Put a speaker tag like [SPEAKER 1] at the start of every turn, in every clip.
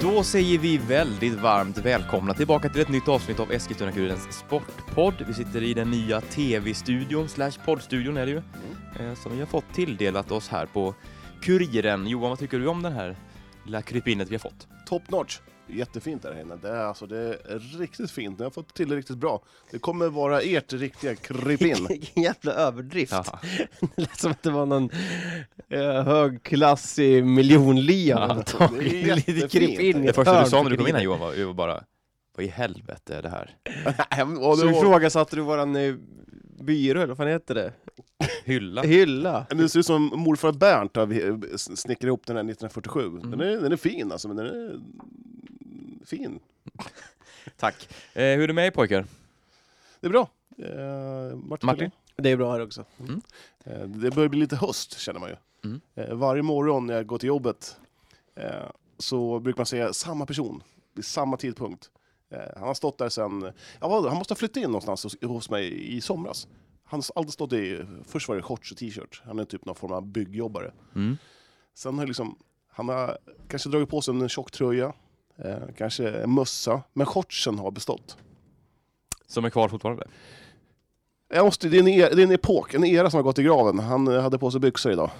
[SPEAKER 1] Då säger vi väldigt varmt välkomna tillbaka till ett nytt avsnitt av Eskilstuna-Kurirens Sportpodd. Vi sitter i den nya tv-studion, slash poddstudion är det ju, eh, som vi har fått tilldelat oss här på Kuriren. Johan, vad tycker du om den här lilla krypinet vi har fått?
[SPEAKER 2] Top notch! Jättefint där inne. Det är, alltså, det är riktigt fint. Ni har fått till det riktigt bra. Det kommer vara ert riktiga krypin.
[SPEAKER 3] Vilken jävla överdrift.
[SPEAKER 1] Jaha.
[SPEAKER 3] Det lät som att det var någon eh, högklassig miljonlia.
[SPEAKER 1] Ja,
[SPEAKER 2] det är
[SPEAKER 3] antagligen. Lite
[SPEAKER 2] jättefint.
[SPEAKER 3] kryp in i
[SPEAKER 1] Det
[SPEAKER 3] ett
[SPEAKER 1] första du
[SPEAKER 3] hörn
[SPEAKER 1] sa
[SPEAKER 3] för
[SPEAKER 1] när du kom in
[SPEAKER 3] kryp.
[SPEAKER 1] här Johan var ju bara, vad i helvete är det här?
[SPEAKER 2] Och
[SPEAKER 3] Så
[SPEAKER 2] det var-
[SPEAKER 3] ifrågasatte du våran eh, byrå, eller vad fan heter det?
[SPEAKER 1] Hylla?
[SPEAKER 3] Hylla.
[SPEAKER 2] Men Det ser ut som morfar Bernt har vi- eh, s- snickrat ihop den här 1947. Den, är, den är fin alltså, men den är fin.
[SPEAKER 1] Tack. Eh, hur är det med er pojkar?
[SPEAKER 2] Det är bra. Eh, Martin?
[SPEAKER 1] Martin?
[SPEAKER 3] Det är bra här också.
[SPEAKER 2] Eh, det börjar bli lite höst känner man ju.
[SPEAKER 1] Mm.
[SPEAKER 2] Eh, varje morgon när jag går till jobbet eh, så brukar man se samma person vid samma tidpunkt. Eh, han har stått där sen, ja, vad- han måste ha flyttat in någonstans hos, hos mig i somras. Han har alltid stått i, först var det shorts och t-shirt, han är typ någon form av byggjobbare.
[SPEAKER 1] Mm.
[SPEAKER 2] Sen har liksom, han har kanske dragit på sig en tjock tröja, eh, kanske en mössa, men shortsen har bestått.
[SPEAKER 1] Som är kvar fortfarande?
[SPEAKER 2] Jag måste, det, är en e- det är en epok, en era som har gått i graven. Han eh, hade på sig byxor idag.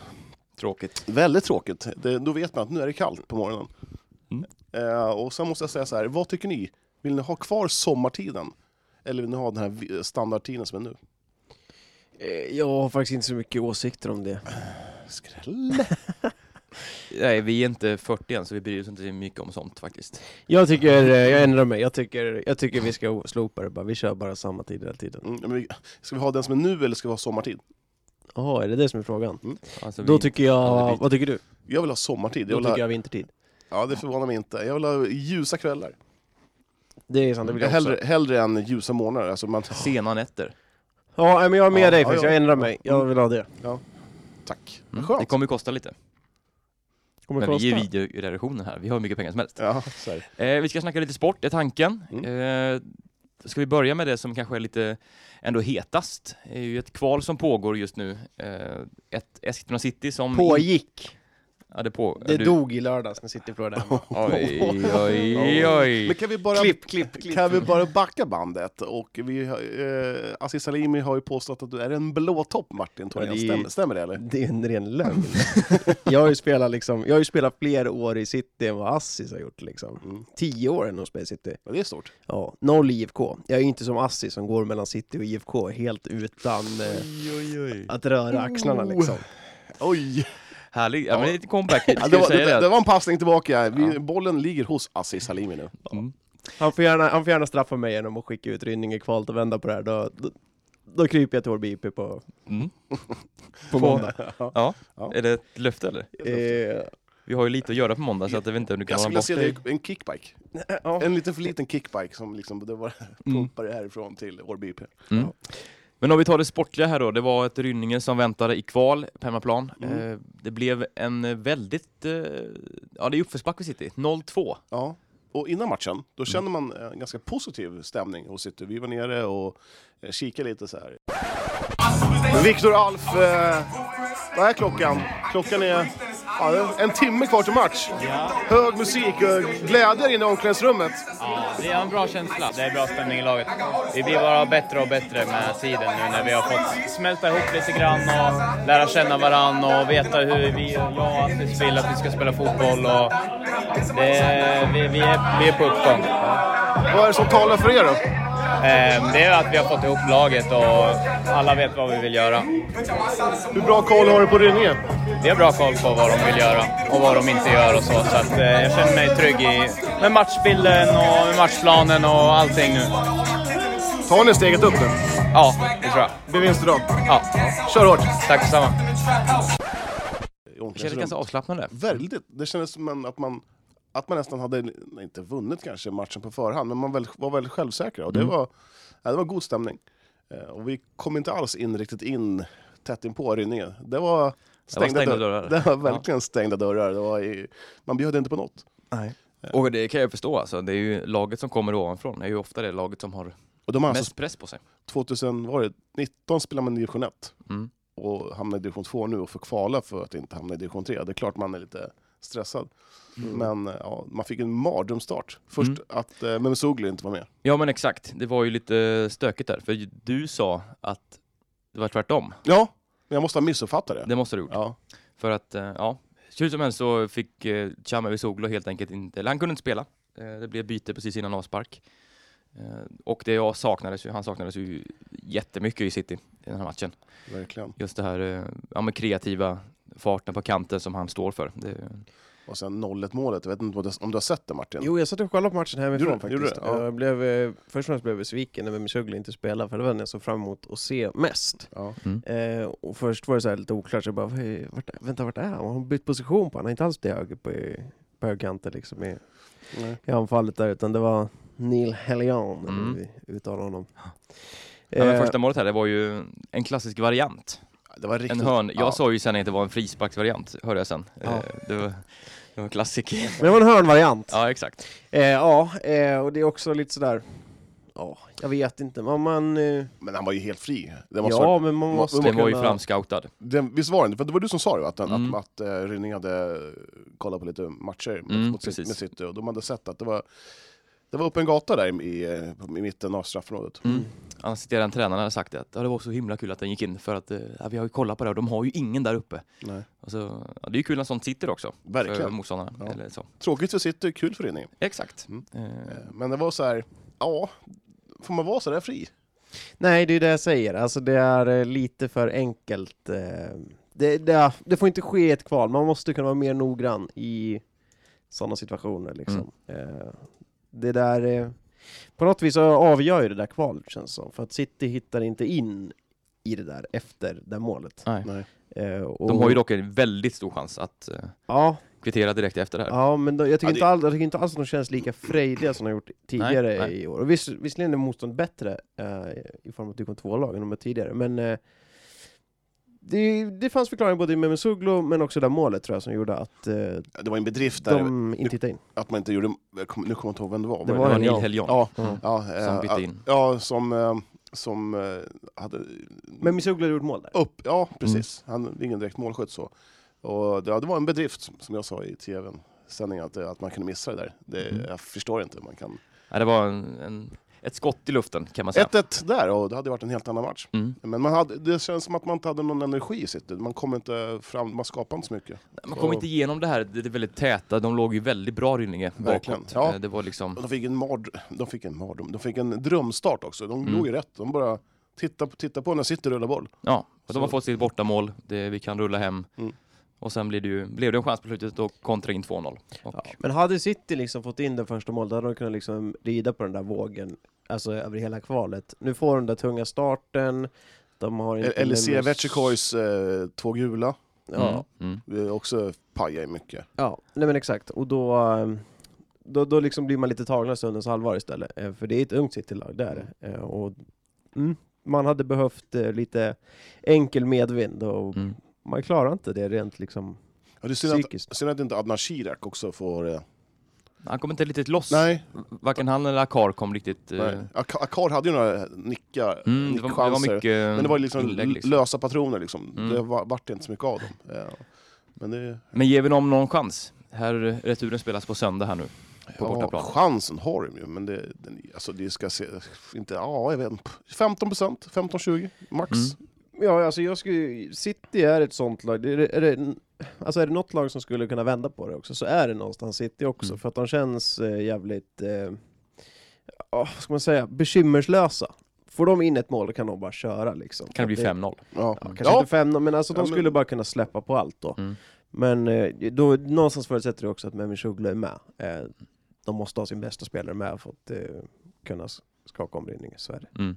[SPEAKER 1] Tråkigt.
[SPEAKER 2] Väldigt tråkigt. Det, då vet man att nu är det kallt på morgonen.
[SPEAKER 1] Mm.
[SPEAKER 2] Eh, och sen måste jag säga så här, vad tycker ni? Vill ni ha kvar sommartiden? Eller vill ni ha den här vi- standardtiden som är nu?
[SPEAKER 3] Eh, Jag har faktiskt inte så mycket åsikter om det.
[SPEAKER 2] Skräll!
[SPEAKER 1] Nej, vi är inte 40 än så vi bryr oss inte mycket om sånt faktiskt.
[SPEAKER 3] Jag tycker, eh, jag ändrar mig, jag tycker, jag tycker vi ska slopa det bara, vi kör bara samma tid hela tiden.
[SPEAKER 2] Mm, men vi- ska vi ha den som är nu eller ska vi ha sommartid?
[SPEAKER 3] Jaha, är det det som är frågan?
[SPEAKER 1] Alltså,
[SPEAKER 3] Då
[SPEAKER 1] vi-
[SPEAKER 3] tycker
[SPEAKER 1] Ja, det
[SPEAKER 3] jag,
[SPEAKER 1] blir-
[SPEAKER 3] vad tycker du?
[SPEAKER 2] Jag vill ha sommartid. Jag
[SPEAKER 3] Då
[SPEAKER 2] vill ha,
[SPEAKER 3] tycker jag vintertid.
[SPEAKER 2] Ja, det förvånar mig inte. Jag vill ha ljusa kvällar.
[SPEAKER 3] Det är sant, det vill jag också.
[SPEAKER 2] hellre, hellre än ljusa månader. Alltså man,
[SPEAKER 1] Sena nätter.
[SPEAKER 3] Ja, nej, men jag är med
[SPEAKER 2] Ja,
[SPEAKER 3] dig
[SPEAKER 2] ja,
[SPEAKER 3] faktiskt,
[SPEAKER 2] ja.
[SPEAKER 3] jag ändrar mig. Jag vill ha det.
[SPEAKER 2] tack.
[SPEAKER 1] Mm. Det
[SPEAKER 2] Skönt.
[SPEAKER 1] kommer ju kosta lite.
[SPEAKER 3] Kommer
[SPEAKER 1] Men vi är
[SPEAKER 3] kosta.
[SPEAKER 1] ju videoredaktionen här, vi har hur mycket pengar som helst.
[SPEAKER 2] Ja, så här.
[SPEAKER 1] Eh, vi ska snacka lite sport, det är tanken.
[SPEAKER 2] Mm.
[SPEAKER 1] Eh, ska vi börja med det som kanske är lite ändå hetast? Det är ju ett kval som pågår just nu. Eh, ett Eskilstuna City som...
[SPEAKER 3] Pågick.
[SPEAKER 1] Ja, det på...
[SPEAKER 3] Det
[SPEAKER 1] du-
[SPEAKER 3] dog i lördags när City förlorade hemma.
[SPEAKER 1] Oj, oj, oj.
[SPEAKER 2] Men kan vi bara...
[SPEAKER 3] Klipp, klipp, klipp.
[SPEAKER 2] Kan vi bara backa bandet? Och vi, har- eh, Aziz Salimi har ju påstått att du är en blåtopp Martin Thorén,
[SPEAKER 3] Ja, det är-
[SPEAKER 2] stämmer, stämmer det eller?
[SPEAKER 3] Det är en ren lögn. jag, har ju spelat liksom, jag har ju spelat fler år i City än vad Assis har gjort. Liksom.
[SPEAKER 2] Mm.
[SPEAKER 3] Tio år än hos Space City.
[SPEAKER 2] Ja, det är stort.
[SPEAKER 3] Ja, noll IFK. Jag är ju inte som Assis som går mellan City och IFK helt utan eh, att röra axlarna liksom.
[SPEAKER 2] Oj!
[SPEAKER 1] Härlig, ja men det är lite comeback, ska
[SPEAKER 2] Ja, det,
[SPEAKER 1] vi
[SPEAKER 2] var,
[SPEAKER 1] säga
[SPEAKER 2] det,
[SPEAKER 1] det?
[SPEAKER 2] det var en passning tillbaka. Vi, Bollen ligger hos Aziz Salimi nu.
[SPEAKER 1] Mm.
[SPEAKER 3] Han får, gärna, han får gärna straffa mig genom att skicka ut Rynninge kvalt och vända på det här. Då, då, då kryper jag till Årby IP på,
[SPEAKER 1] Mm.
[SPEAKER 3] på måndag.
[SPEAKER 1] Ja,
[SPEAKER 2] Ja.
[SPEAKER 1] är det ett löfte eller?
[SPEAKER 3] Eh,
[SPEAKER 1] Vi har ju lite att göra på måndag så att jag vet inte om du kan
[SPEAKER 2] Jag skulle
[SPEAKER 1] hålla bort
[SPEAKER 2] se
[SPEAKER 1] dig.
[SPEAKER 2] det, en kickbike.
[SPEAKER 3] ja.
[SPEAKER 2] En liten för liten kickbike som liksom, det var pumpade härifrån till Årby IP.
[SPEAKER 1] Mm. Men om vi tar det sportliga här då, det var ett Rynninge som väntade i kval på hemmaplan. Eh, det blev en eh, väldigt, eh, ja det är uppförsbacke vid City, 0-2.
[SPEAKER 2] Ja. Och innan matchen, då känner man eh, en ganska positiv stämning hos City. Vi var nere och eh, kikade lite så här. Viktor Alf, eh, vad är klockan? Klockan är ja, det är en timme kvar till match. Hög musik och glädje inne i omklädningsrummet.
[SPEAKER 4] Det är en bra känsla. Det är bra stämning i laget. Vi blir bara bättre och bättre med tiden nu när vi har fått smälta ihop lite grann och lära känna varann och veta hur vi och jag och Attis vill att vi ska spela fotboll. Och det, är- vi, vi, är, vi är på uppgång.
[SPEAKER 2] Vad är det som talar för er då?
[SPEAKER 4] Ehm, Det är att vi har fått ihop laget och alla vet vad vi vill göra.
[SPEAKER 2] Hur bra koll har du på Rynninge?
[SPEAKER 4] Vi har bra koll på vad de vill göra och vad de inte gör och så. Så att, eh, jag känner mig trygg i, med matchbilden och med matchplanen och allting nu.
[SPEAKER 2] Tar ni steget upp nu?
[SPEAKER 4] Ja, det tror jag.
[SPEAKER 2] Det är vinst idag.
[SPEAKER 4] Ja.
[SPEAKER 2] Kör hårt!
[SPEAKER 4] Tack detsamma.
[SPEAKER 2] I
[SPEAKER 1] Det kändes ganska
[SPEAKER 2] omklädningsrummet.
[SPEAKER 1] avslappnande.
[SPEAKER 2] Väldigt. Det kändes som en- att man, att man nästan hade, nej, inte vunnit kanske matchen på förhand, men man väl, var väldigt självsäkra. Och
[SPEAKER 1] Mm.
[SPEAKER 2] det, var, ja, det var god stämning. Eh, Och vi kom inte alls in riktigt in tätt in på Rynninge. Det var stängda,
[SPEAKER 1] stängda
[SPEAKER 2] dörr-
[SPEAKER 1] dörrar.
[SPEAKER 2] Det var verkligen stängda dörrar. Det var i, man bjöd inte på något.
[SPEAKER 1] Och det kan jag förstå alltså, det är ju laget som kommer ovanifrån, det är ju ofta det laget som har
[SPEAKER 2] Och de har alltså
[SPEAKER 1] Mest press på sig.
[SPEAKER 2] 2019 spelade man i division 1
[SPEAKER 1] Mm.
[SPEAKER 2] och hamnade i division 2 nu och får kvala för att inte hamna i division 3. Det är klart man är lite stressad. Men eh, ja, man fick en mardrömsstart. Först
[SPEAKER 1] Mm.
[SPEAKER 2] att eh, Memsoglu inte var med.
[SPEAKER 1] Ja men exakt, det var ju lite stökigt där. För du sa att det var tvärtom.
[SPEAKER 2] Ja, men jag måste ha missuppfattat det.
[SPEAKER 1] Det måste du ha gjort.
[SPEAKER 2] Ja.
[SPEAKER 1] För att, eh, ja. Hur som helst så fick eh, Chama Wisoglu helt enkelt inte, eller han kunde inte spela. Eh, det blev byte precis innan avspark. Eh, och det jag saknades ju, han saknades ju jättemycket i City i den här matchen.
[SPEAKER 2] Verkligen.
[SPEAKER 1] Just det här eh, ja, men kreativa farten på kanten som han står för. Det,
[SPEAKER 2] Och sen 0-1 målet, jag vet inte om du har- om du har sett det Martin?
[SPEAKER 3] Jo, jag satt och kollade på matchen hemifrån
[SPEAKER 2] Gjorde du?
[SPEAKER 3] faktiskt.
[SPEAKER 2] Gjorde du? Ja.
[SPEAKER 3] Jag blev, eh, först och främst blev jag besviken över Mesugli inte spelade, för det var den jag såg fram emot att se mest.
[SPEAKER 2] Ja.
[SPEAKER 3] Eh, och först var det så här lite oklart, så jag bara, "Hej, vart, vänta vart är han? Har han bytt position på? Han är inte alls till höger på, på högerkanten liksom i,
[SPEAKER 2] Nej.
[SPEAKER 3] i anfallet där, utan det var Neil Helion,
[SPEAKER 1] Mm.
[SPEAKER 3] mm. uttalar honom.
[SPEAKER 1] ja, men
[SPEAKER 3] Eh,
[SPEAKER 1] första målet här, det var ju en klassisk variant.
[SPEAKER 2] Det var riktigt...
[SPEAKER 1] En hörn. Jag
[SPEAKER 2] Ja.
[SPEAKER 1] sa ju sen att det var en frisparksvariant, hörde jag sen.
[SPEAKER 3] Ja.
[SPEAKER 1] Eh, Det var, det var en klassiker.
[SPEAKER 3] Men det var en hörnvariant.
[SPEAKER 1] Ja, exakt.
[SPEAKER 3] Eh, Ja, eh, och det är också lite sådär, ja, jag vet inte, man... man eh,
[SPEAKER 2] Men han var ju helt fri. Det måste
[SPEAKER 3] ja,
[SPEAKER 2] varit-
[SPEAKER 3] men man
[SPEAKER 2] må-
[SPEAKER 3] måste
[SPEAKER 1] Den var ju
[SPEAKER 3] kunna-
[SPEAKER 1] framscoutad.
[SPEAKER 2] det, visst var det inte? För det var du som sa det, va? att, den,
[SPEAKER 1] Mm.
[SPEAKER 2] att, att eh, Rynning hade kollat på lite matcher mot,
[SPEAKER 1] Mm,
[SPEAKER 2] mot sitt,
[SPEAKER 1] precis.
[SPEAKER 2] med City och de hade sett att det var, det var upp en gata där i, i, eh, i mitten av straffområdet.
[SPEAKER 1] Mm. Assisterande tränaren hade sagt det, att ja, det var så himla kul att den gick in för att eh, ja, vi har ju kollat på det och de har ju ingen där uppe.
[SPEAKER 2] Nej.
[SPEAKER 1] Och så, ja, det är ju kul när sånt sitter också. För
[SPEAKER 2] Verkligen.
[SPEAKER 1] motståndarna.
[SPEAKER 2] Ja.
[SPEAKER 1] Eller så.
[SPEAKER 2] Tråkigt för City, kul för Rynning.
[SPEAKER 1] Exakt.
[SPEAKER 2] Mm.
[SPEAKER 1] Eh,
[SPEAKER 2] Eh, Men det var så här, ja, får man vara så där fri?
[SPEAKER 3] Nej, det är det jag säger. Alltså det är eh, lite för enkelt. eh, Det, det, är- det får inte ske i ett kval. Man måste kunna vara mer noggrann i sådana situationer. Liksom.
[SPEAKER 1] Mm.
[SPEAKER 3] Eh, Det där... eh, På något vis så avgör ju det där kvalet känns det som. För att City hittar inte in i det där efter det målet.
[SPEAKER 1] nej.
[SPEAKER 2] Nej.
[SPEAKER 3] Eh, och-
[SPEAKER 1] De har ju dock en väldigt stor chans att eh,
[SPEAKER 3] Ja,
[SPEAKER 1] kvittera direkt efter det här.
[SPEAKER 3] ja men då, jag, tycker
[SPEAKER 2] Ja, det-
[SPEAKER 3] inte all, jag tycker inte alls att de känns lika frejdiga som de har gjort tidigare
[SPEAKER 1] Nej, nej.
[SPEAKER 3] i år. Och visst, visserligen är motstånd bättre eh, i form av att det kom två lag än de var tidigare, men eh, det, det fanns förklaringar både i Memesuglo men också det där målet tror jag som gjorde att eh,
[SPEAKER 2] Det var en bedrift där,
[SPEAKER 3] de inte hittade in.
[SPEAKER 2] att man inte gjorde, jag kommer- nu kommer jag inte ihåg vem det var.
[SPEAKER 3] Det
[SPEAKER 1] Det
[SPEAKER 2] Var
[SPEAKER 1] var,
[SPEAKER 3] en
[SPEAKER 1] Neil
[SPEAKER 3] jag.
[SPEAKER 1] Helion.
[SPEAKER 2] Ja,
[SPEAKER 3] Mm.
[SPEAKER 2] ja, eh,
[SPEAKER 1] Som bytte in.
[SPEAKER 2] Ja, som, eh, som eh, hade...
[SPEAKER 3] Memesuglo hade gjort mål där.
[SPEAKER 2] Upp, ja precis.
[SPEAKER 1] Mm.
[SPEAKER 2] Han är ingen direkt målskytt så. Och det, ja, det var en bedrift, som jag sa i tvn sändningen, att, att man kunde missa det där. Det,
[SPEAKER 1] Mm.
[SPEAKER 2] Jag förstår inte. hur Man kan...
[SPEAKER 1] Nej, det var en, en, ett skott i luften kan man säga.
[SPEAKER 2] 1-1 där, och det hade varit en helt annan match.
[SPEAKER 1] Mm.
[SPEAKER 2] Men man hade, det känns som att man inte hade någon energi i sitt. Man kom inte fram, man skapade inte så mycket.
[SPEAKER 1] Man kom
[SPEAKER 2] Och-
[SPEAKER 1] inte igenom det här, det det är väldigt täta, de låg ju väldigt bra Rynninge
[SPEAKER 2] Verkligen.
[SPEAKER 1] bakåt.
[SPEAKER 2] Ja.
[SPEAKER 1] Eh, Det var liksom,
[SPEAKER 2] Och de fick en mard, de fick en mardröm, de fick en drömstart också. De
[SPEAKER 1] Mm.
[SPEAKER 2] låg ju rätt, de bara titta, på- titta på när City rullar boll.
[SPEAKER 1] ja, och de har
[SPEAKER 2] Så-
[SPEAKER 1] fått sitt bortamål, det, vi kan rulla hem.
[SPEAKER 2] Mm.
[SPEAKER 1] Och sen blev det ju, blev det en chans på slutet och kontra in 2-0. Och, Mm.
[SPEAKER 3] Ja, men hade City liksom fått in det första målet, då hade de kunnat liksom rida på den där vågen, alltså över hela kvalet. Nu får de den där tunga starten, de har inte...
[SPEAKER 2] LEC
[SPEAKER 3] Memes-
[SPEAKER 2] Vetchikois eh, två gula,
[SPEAKER 3] Ja,
[SPEAKER 1] Mm. Mm.
[SPEAKER 2] eh, också pajar i mycket.
[SPEAKER 3] Ja, nej men exakt. Och då, ehm, då, då liksom blir man lite tagen av stundens allvar istället. Eh, För det är ett ungt City-lag där. Och mm, man hade behövt eh, lite enkel medvind och
[SPEAKER 1] Mm.
[SPEAKER 3] man klarar inte det rent liksom
[SPEAKER 2] Ja, det är synd att-
[SPEAKER 3] psykiskt.
[SPEAKER 2] Synd att inte Adnan Shirak också får... Eh,
[SPEAKER 1] Han kom inte riktigt loss.
[SPEAKER 2] nej,
[SPEAKER 1] Varken han eller Akar kom riktigt... eh,
[SPEAKER 2] nej. Ak- Akar hade ju några nickar,
[SPEAKER 1] Mm, det, var,
[SPEAKER 2] nickchanser.
[SPEAKER 1] det var mycket
[SPEAKER 2] men det var ju liksom
[SPEAKER 1] inlägg, liksom.
[SPEAKER 2] lösa patroner liksom.
[SPEAKER 1] Mm.
[SPEAKER 2] Det var, vart inte så mycket av dem. Eh, men det,
[SPEAKER 1] Men ger vi dem någon chans? Här, returen spelas på söndag här nu. På bortaplan.
[SPEAKER 2] chansen har de ju, men det, den, alltså, det ska se... Inte, ja, jag vet inte. 15 procent, 15-20 max.
[SPEAKER 1] Mm.
[SPEAKER 3] Ja, alltså jag skulle, City är ett sånt lag. Det Är det, är det, alltså är det något lag som skulle kunna vända på det också så är det någonstans City också.
[SPEAKER 1] Mm.
[SPEAKER 3] För att de känns eh, jävligt, eh, ja, vad ska man säga, bekymmerslösa. Får de in ett mål kan de bara köra liksom.
[SPEAKER 1] Kan det bli
[SPEAKER 3] Det-
[SPEAKER 1] 5-0?
[SPEAKER 2] Ja.
[SPEAKER 3] Ja,
[SPEAKER 2] Ja,
[SPEAKER 3] kanske inte fem, men alltså de
[SPEAKER 2] Ja, men-
[SPEAKER 3] skulle bara kunna släppa på allt då.
[SPEAKER 1] Mm.
[SPEAKER 3] Men eh, då, någonstans förutsätter det också att Memishuglu är med. Eh, de måste ha sin bästa spelare med för att eh, kunna s- skaka om Rynninge, så är det.
[SPEAKER 1] Mm.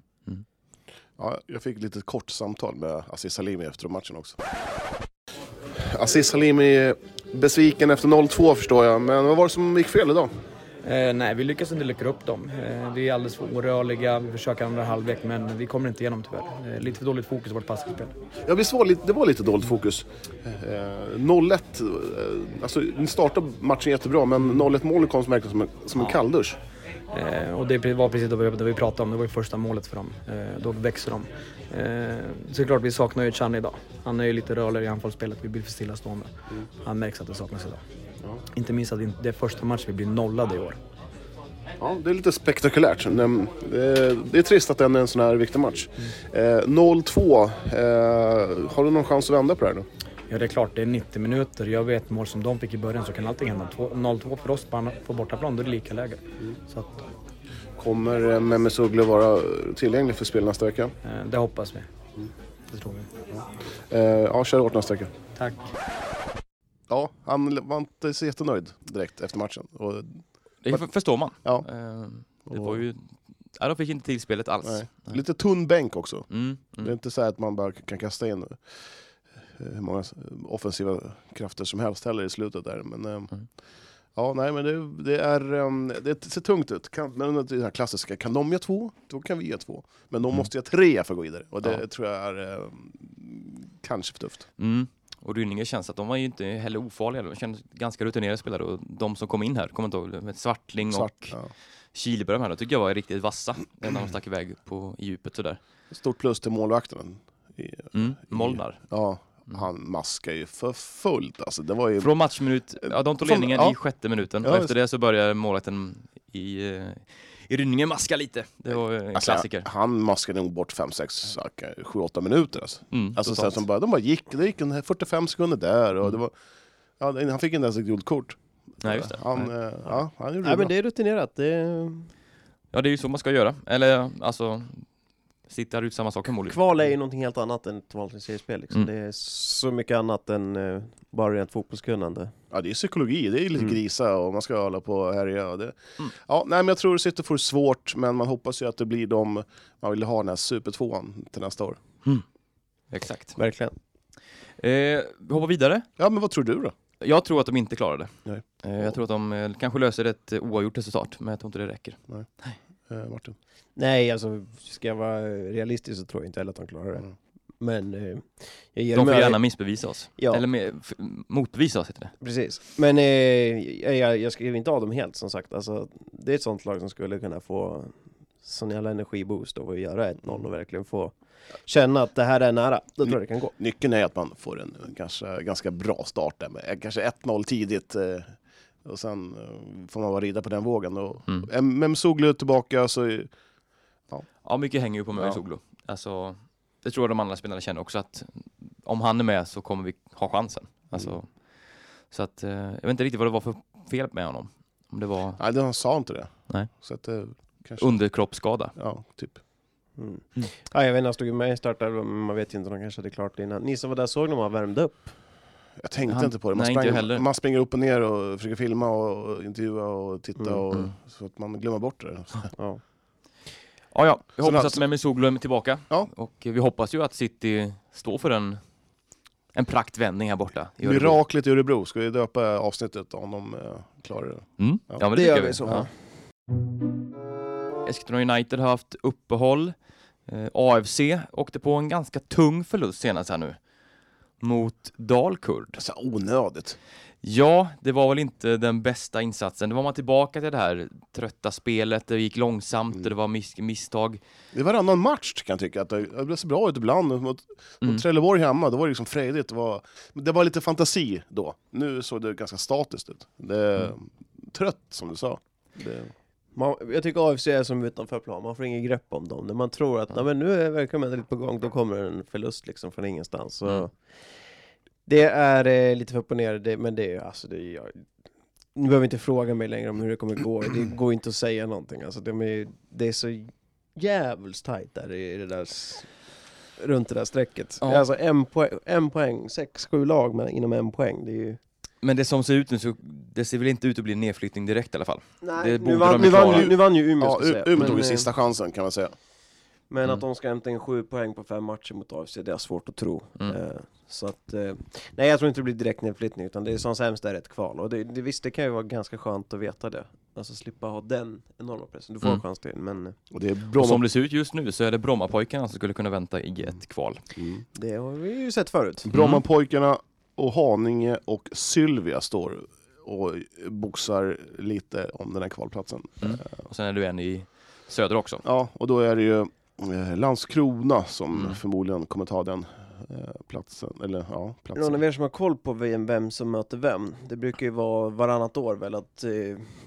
[SPEAKER 2] Ja, jag fick lite kort samtal med Aziz Salimi efter matchen också. Aziz Salimi, besviken efter 0-2 förstår jag, men vad var det som gick fel idag?
[SPEAKER 5] Eh, nej, vi lyckas inte luckra upp dem. Eh, vi är alldeles för orörliga, vi försöker andra halvlek men vi kommer inte igenom tyvärr. Eh, lite för dåligt fokus i vårt passningsspel.
[SPEAKER 2] Ja, visst var det, lite- det var lite dåligt fokus. Eh, 0-1, eh, alltså ni startade matchen jättebra men 0-1 målet kom som verkligen som en, som en kalldusch.
[SPEAKER 5] Eh, och det var precis det vi, det vi pratade om, det var ju första målet för dem. Eh, då växer de. Eh, så det är klart vi saknar ju Chan idag. Han är ju lite rörligare i anfallsspelet, vi blir för stillastående. Han märks att det saknas idag. Inte minst att det inte- det är första matchen vi blir nollade i år.
[SPEAKER 2] Ja, det är lite spektakulärt. Den- eh, Det är trist att den är en sån här viktig match. Eh, 0-2. Eh, har du någon chans att vända på det här nu?
[SPEAKER 5] Ja, det är klart, det är 90 minuter. Jag vet mål som de fick i början så kan allting hända. Två- 0-2 för oss på an- på bortaplan, då är det lika läge. Så att,
[SPEAKER 2] Kommer eh, Mehmet Ugly vara tillgänglig för spel nästa vecka?
[SPEAKER 5] eh, det hoppas vi. Det tror vi.
[SPEAKER 2] Eh, ja, kör hårt nästa vecka.
[SPEAKER 5] Tack.
[SPEAKER 2] Ja, han var inte så jättenöjd direkt efter matchen. Och,
[SPEAKER 1] Det f- förstår man.
[SPEAKER 2] ja,
[SPEAKER 1] Eh, Det var ju... Ja, de fick inte till spelet alls.
[SPEAKER 2] nej. Lite tunn bänk också.
[SPEAKER 1] Mm,
[SPEAKER 2] Det är
[SPEAKER 1] mm.
[SPEAKER 2] inte så här att man bara kan kasta in eh, hur många offensiva krafter som helst heller i slutet där. Men, eh, Ja, nej, men det, det, är, ehm, det ser tungt ut. Kan, men det är det här klassiska, kan de göra två, då kan vi göra två. Men de måste göra tre för att gå vidare. Och det
[SPEAKER 1] Ja.
[SPEAKER 2] tror jag är eh, kanske för tufft.
[SPEAKER 1] Mm. Och Rynninge känns att de var ju inte heller ofarliga. De kändes ganska rutinerade spelare och de som kom in här, kommer inte ihåg, med Svartling och
[SPEAKER 2] Svart, ja.
[SPEAKER 1] Kihlberg, de här, de tycker jag var riktigt vassa när de stack iväg på i djupet sådär.
[SPEAKER 2] Stort plus till målvakten. I-
[SPEAKER 1] Mm. Molnar.
[SPEAKER 2] Ja, han maskar ju för fullt alltså. Det var ju...
[SPEAKER 1] Mm. Från matchminut, ja de tog
[SPEAKER 2] Från-
[SPEAKER 1] ledningen
[SPEAKER 2] ja.
[SPEAKER 1] i sjätte minuten
[SPEAKER 2] Ja,
[SPEAKER 1] och
[SPEAKER 2] just-
[SPEAKER 1] efter det så började målvakten i, eh, i Rynninge maska lite. Det var ju en
[SPEAKER 2] Alltså,
[SPEAKER 1] klassiker.
[SPEAKER 2] Han maskade nog bort 5, 6, 7, 8 minuter alltså.
[SPEAKER 1] Mm,
[SPEAKER 2] Alltså sen
[SPEAKER 1] totalt. Mm.
[SPEAKER 2] som bara, de bara gick, det gick en 45 sekunder där och det var... Ja, det- han fick inte ens ett gult kort.
[SPEAKER 1] Nej, just det.
[SPEAKER 2] Han,
[SPEAKER 1] Nej.
[SPEAKER 2] eh, ja, han gjorde
[SPEAKER 3] Nej
[SPEAKER 2] det
[SPEAKER 3] men
[SPEAKER 2] bra.
[SPEAKER 3] det är rutinerat. Det...
[SPEAKER 1] Ja det är ju så man ska göra. Eller alltså, sitta ut samma sak som
[SPEAKER 3] Kval är ju någonting helt annat än ett vanligt seriespel liksom.
[SPEAKER 1] Mm.
[SPEAKER 3] Det är så mycket annat än eh, bara rent fotbollskunnande.
[SPEAKER 2] Ja, det är psykologi, det är lite
[SPEAKER 1] Mm.
[SPEAKER 2] grisa och man ska hålla på och härja. och Det...
[SPEAKER 1] Mm.
[SPEAKER 2] Ja, nej, men jag tror City får det svårt, men man hoppas ju att det blir de man vill ha den här supertvåan till nästa år.
[SPEAKER 1] Exakt.
[SPEAKER 3] Verkligen.
[SPEAKER 1] Eh, vi hoppar vidare.
[SPEAKER 2] Ja, men vad tror du då?
[SPEAKER 1] Jag tror att de inte klarar det.
[SPEAKER 2] Nej.
[SPEAKER 1] Eh, jag tror att de eh, kanske löser ett eh, oavgjort resultat, men jag tror inte det räcker.
[SPEAKER 2] Eh, Martin?
[SPEAKER 3] Nej, alltså ska jag vara realistisk så tror jag inte heller att de klarar det.
[SPEAKER 2] Mm.
[SPEAKER 3] Men eh, jag ger
[SPEAKER 1] De får
[SPEAKER 3] dem-
[SPEAKER 1] gärna missbevisa oss.
[SPEAKER 3] Ja.
[SPEAKER 1] Eller med, f- motbevisa oss heter det.
[SPEAKER 3] Precis. Men eh, jag- jag, jag skriver inte av dem helt som sagt. Alltså, det är ett sånt lag som skulle kunna få sån jävla energiboost av att göra 1-0 och verkligen få känna att det här är nära. Då tror jag det kan gå.
[SPEAKER 2] Nyckeln är att man får en eh, kanske, ganska bra start där, med, eh, kanske 1-0 tidigt. Eh, och sen eh, får man bara rida på den vågen. Och,
[SPEAKER 1] Mm.
[SPEAKER 2] mm. Men Soglu är tillbaka så... är-
[SPEAKER 1] Ja, mycket hänger ju på Möja
[SPEAKER 2] Ja.
[SPEAKER 1] Soglo. Alltså, det tror jag de andra spelarna känner också att om han är med så kommer vi ha chansen. Alltså,
[SPEAKER 2] Mm.
[SPEAKER 1] Så att, eh, jag vet inte riktigt vad det var för fel med honom. Om det var
[SPEAKER 2] Nej, det- han sa inte det.
[SPEAKER 1] Nej.
[SPEAKER 2] Så att det kanske...
[SPEAKER 1] underkroppsskada.
[SPEAKER 2] Ja, typ.
[SPEAKER 3] Mm. Ja, jag vet inte, han stod ju med i startelvan, men man vet ju inte, de kanske hade klart det innan. Ni som var där såg när man värmde upp.
[SPEAKER 2] Jag tänkte
[SPEAKER 1] Han-
[SPEAKER 2] inte på det. Man,
[SPEAKER 1] nej, inte jag heller.
[SPEAKER 2] sprang, man springer upp och ner och försöker filma och intervjua och titta
[SPEAKER 3] Mm,
[SPEAKER 2] och,
[SPEAKER 1] mm.
[SPEAKER 2] så att man glömmer bort det.
[SPEAKER 3] Ja.
[SPEAKER 1] Ja, ja. Jag
[SPEAKER 2] Så
[SPEAKER 1] hoppas
[SPEAKER 2] då-
[SPEAKER 1] att Mehmet Soglo är tillbaka.
[SPEAKER 2] Ja.
[SPEAKER 1] Och eh, vi hoppas ju att City står för en, en praktvändning här borta. i Örebro.
[SPEAKER 2] Miraklet i Örebro, ska vi döpa avsnittet om de eh, klarar det?
[SPEAKER 1] Mm.
[SPEAKER 2] Ja.
[SPEAKER 1] Ja, men det,
[SPEAKER 3] Det
[SPEAKER 1] tycker
[SPEAKER 3] gör
[SPEAKER 1] jag
[SPEAKER 3] vi
[SPEAKER 1] vi.
[SPEAKER 3] så.
[SPEAKER 1] Ja. Eskilstuna United har haft uppehåll. Eh, AFC åkte på en ganska tung förlust senast här nu. Mot Dalkurd.
[SPEAKER 2] Så onödigt.
[SPEAKER 1] Ja, det var väl inte den bästa insatsen. Då var man tillbaka till det här trötta spelet, det gick långsamt och det var mis- misstag.
[SPEAKER 2] Det är varannan match kan jag tycka, att det, det ser bra ut ibland. Mot, mot
[SPEAKER 1] Mm.
[SPEAKER 2] Trelleborg hemma, då var det liksom fredigt. Det var, men det var lite fantasi då. Nu såg det ganska statiskt ut. Det, Trött som du sa. Det,
[SPEAKER 3] Man, jag tycker AFC är som utanför plan, man får ingen grepp om dem. När man tror att "Nej, men nu är- verkar de ändå lite på gång, då kommer en förlust liksom från ingenstans. Så
[SPEAKER 1] Mm.
[SPEAKER 3] Det är eh, lite för upp och ner, det, men det är ju- alltså, det är, jag, ni behöver inte fråga mig längre om hur det kommer gå, det går inte att säga någonting. Alltså, de är, det är så jävligt tajt där i det där, s- runt det där strecket.
[SPEAKER 1] Ja.
[SPEAKER 3] Alltså en poäng, en poäng, sex, sju lag men inom en poäng. Det är ju...
[SPEAKER 1] Men det som ser ut nu så, det ser väl inte ut att bli en nedflyttning direkt i alla fall. Det
[SPEAKER 3] Nej, nu,
[SPEAKER 1] borde
[SPEAKER 3] vann,
[SPEAKER 1] de
[SPEAKER 3] nu, vann,
[SPEAKER 1] klara.
[SPEAKER 3] ju- nu vann ju Umeå
[SPEAKER 2] ja,
[SPEAKER 3] ska jag
[SPEAKER 2] U-
[SPEAKER 3] säga.
[SPEAKER 2] Umeå
[SPEAKER 3] Men,
[SPEAKER 2] tog ju
[SPEAKER 3] eh,
[SPEAKER 2] sista chansen kan man säga.
[SPEAKER 3] Men
[SPEAKER 1] Mm.
[SPEAKER 3] att de ska hämta in sju poäng på fem matcher mot AFC, det är svårt att tro.
[SPEAKER 1] Mm.
[SPEAKER 3] Eh, så att, eh, nej jag tror inte det blir direkt nedflyttning, utan det är som sämst är ett kval. Och det, det, visst, det kan ju vara ganska skönt att veta det. Alltså slippa ha den enorma pressen. Du får
[SPEAKER 1] Mm.
[SPEAKER 3] en chans till, men eh,
[SPEAKER 2] Och det är
[SPEAKER 1] Och som
[SPEAKER 2] Bromma,
[SPEAKER 1] det ser ut just nu så är det Brommapojkarna som skulle kunna vänta i ett kval.
[SPEAKER 2] mm.
[SPEAKER 3] det
[SPEAKER 1] Mm.
[SPEAKER 3] har vi ju sett förut.
[SPEAKER 2] Brommapojkarna och Haninge och Sylvia står och boxar lite om den här kvalplatsen.
[SPEAKER 1] Och sen är du en i söder också.
[SPEAKER 2] Ja, och då är det ju eh, Landskrona som
[SPEAKER 1] Mm.
[SPEAKER 2] förmodligen kommer ta den eh, platsen. Eller ja,
[SPEAKER 3] Någon
[SPEAKER 2] platsen.
[SPEAKER 3] av er som har koll på vem, vem som möter vem? Det brukar ju vara varannat år väl att eh,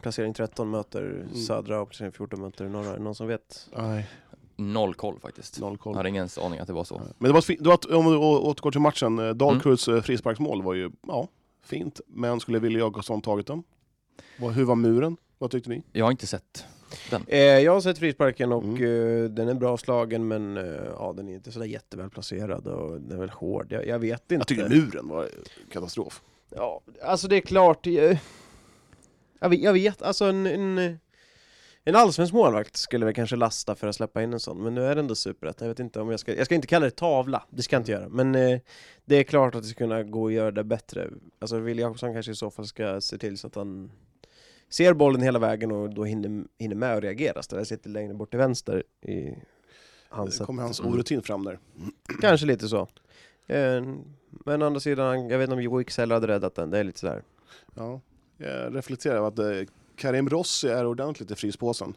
[SPEAKER 3] placering 13 möter
[SPEAKER 1] Mm.
[SPEAKER 3] södra och placering 14 möter norra. Är det Någon som vet?
[SPEAKER 2] Nej,
[SPEAKER 1] Noll koll faktiskt.
[SPEAKER 2] noll
[SPEAKER 1] Jag
[SPEAKER 2] koll.
[SPEAKER 1] hade ingen ens aning att det var så.
[SPEAKER 2] Men det var, ett fi- det var ett, om vi å- återgår till matchen, eh, Dahlkruds mm. frisparksmål var ju ja, fint, men skulle Wille Jakobsson tagit den? Vad- Hur var muren? Vad tyckte ni?
[SPEAKER 1] Jag har inte sett.
[SPEAKER 3] Eh, jag har sett frisparken och
[SPEAKER 2] Mm.
[SPEAKER 3] eh, den är bra slagen men eh, ja, den är inte sådär jätteväl placerad och den är väl hård. Jag, jag vet inte.
[SPEAKER 2] Jag tycker muren var katastrof.
[SPEAKER 3] Ja, alltså det är klart. eh, Jag vet, jag vet alltså en, en, en allsvensk målvakt skulle väl kanske lasta för att släppa in en sån, men nu är det ändå superettan. Jag vet inte om jag ska, jag ska inte kalla det tavla, det ska jag inte göra, men eh, det är klart att det ska kunna gå att göra det bättre. Alltså Wille Jakobsson kanske i så fall ska se till så att han ser bollen hela vägen och då hinner, hinner med att reagera, ställa sig lite längre bort till vänster i hans
[SPEAKER 2] Kommer
[SPEAKER 3] sätt. Mm,
[SPEAKER 2] hans orutin fram där?
[SPEAKER 3] Kanske lite så. Eh, Men å andra sidan, jag vet inte om Joe Excel hade räddat den, det är lite sådär.
[SPEAKER 2] Ja. Jag reflekterar över att eh, Karim Rossi är ordentligt i fryspåsen.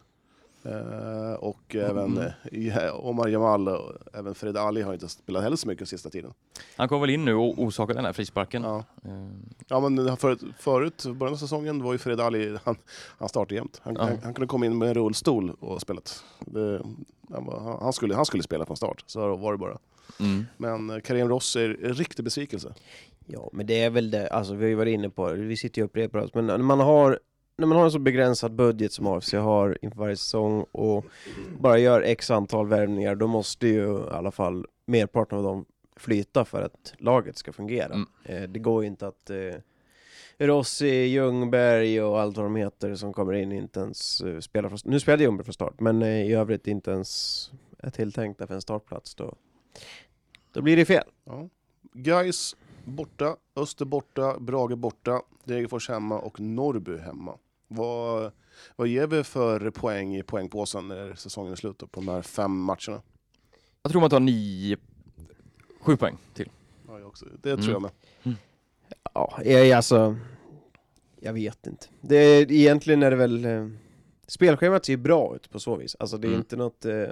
[SPEAKER 2] Eh, och även eh, ja, Omar Jamal och även Fred Ali har inte spelat heller så mycket sista tiden.
[SPEAKER 1] Han kom väl in nu och orsakade den här frisparken.
[SPEAKER 2] Ja,
[SPEAKER 1] Eh,
[SPEAKER 2] ja men förut, förut, början av säsongen, var ju Fred Ali, han, han startade jämt. Han,
[SPEAKER 1] Ja.
[SPEAKER 2] han, han kunde komma in med en rullstol och spelat. Det, han, var- han- han, skulle, han skulle spela från start, så var det bara.
[SPEAKER 1] Mm.
[SPEAKER 2] Men eh, Karim Rossi är en riktig besvikelse.
[SPEAKER 3] Ja, men det är väl det, alltså vi har ju varit inne på det, vi sitter ju och upprepar oss, men när man har när man har en så begränsad budget som AFC har inför varje säsong och bara gör x antal värvningar, då måste ju i alla fall merparten av dem flyta för att laget ska fungera.
[SPEAKER 1] Mm.
[SPEAKER 3] Eh, det går ju inte att eh, Rossi, Ljungberg och allt vad de heter som kommer in inte ens eh, spelar från Nu spelade Ljungberg från start, men eh, i övrigt inte ens är tilltänkta för en startplats. Då, då blir det fel.
[SPEAKER 2] Ja. Guys borta, Öster borta, Brage borta, Degerfors hemma och Norrby hemma. Vad, vad ger vi för poäng i poängpåsen när säsongen är slut då, på de här fem matcherna?
[SPEAKER 1] Jag tror man tar nio, sju poäng till.
[SPEAKER 2] Ja, jag också. Det tror
[SPEAKER 1] Mm.
[SPEAKER 2] jag med.
[SPEAKER 3] Ja, jag, alltså... Jag vet inte. Det är, egentligen är det väl... Eh, spelschemat ser ju bra ut på så vis. Alltså det är
[SPEAKER 1] Mm.
[SPEAKER 3] inte något... Eh, eller,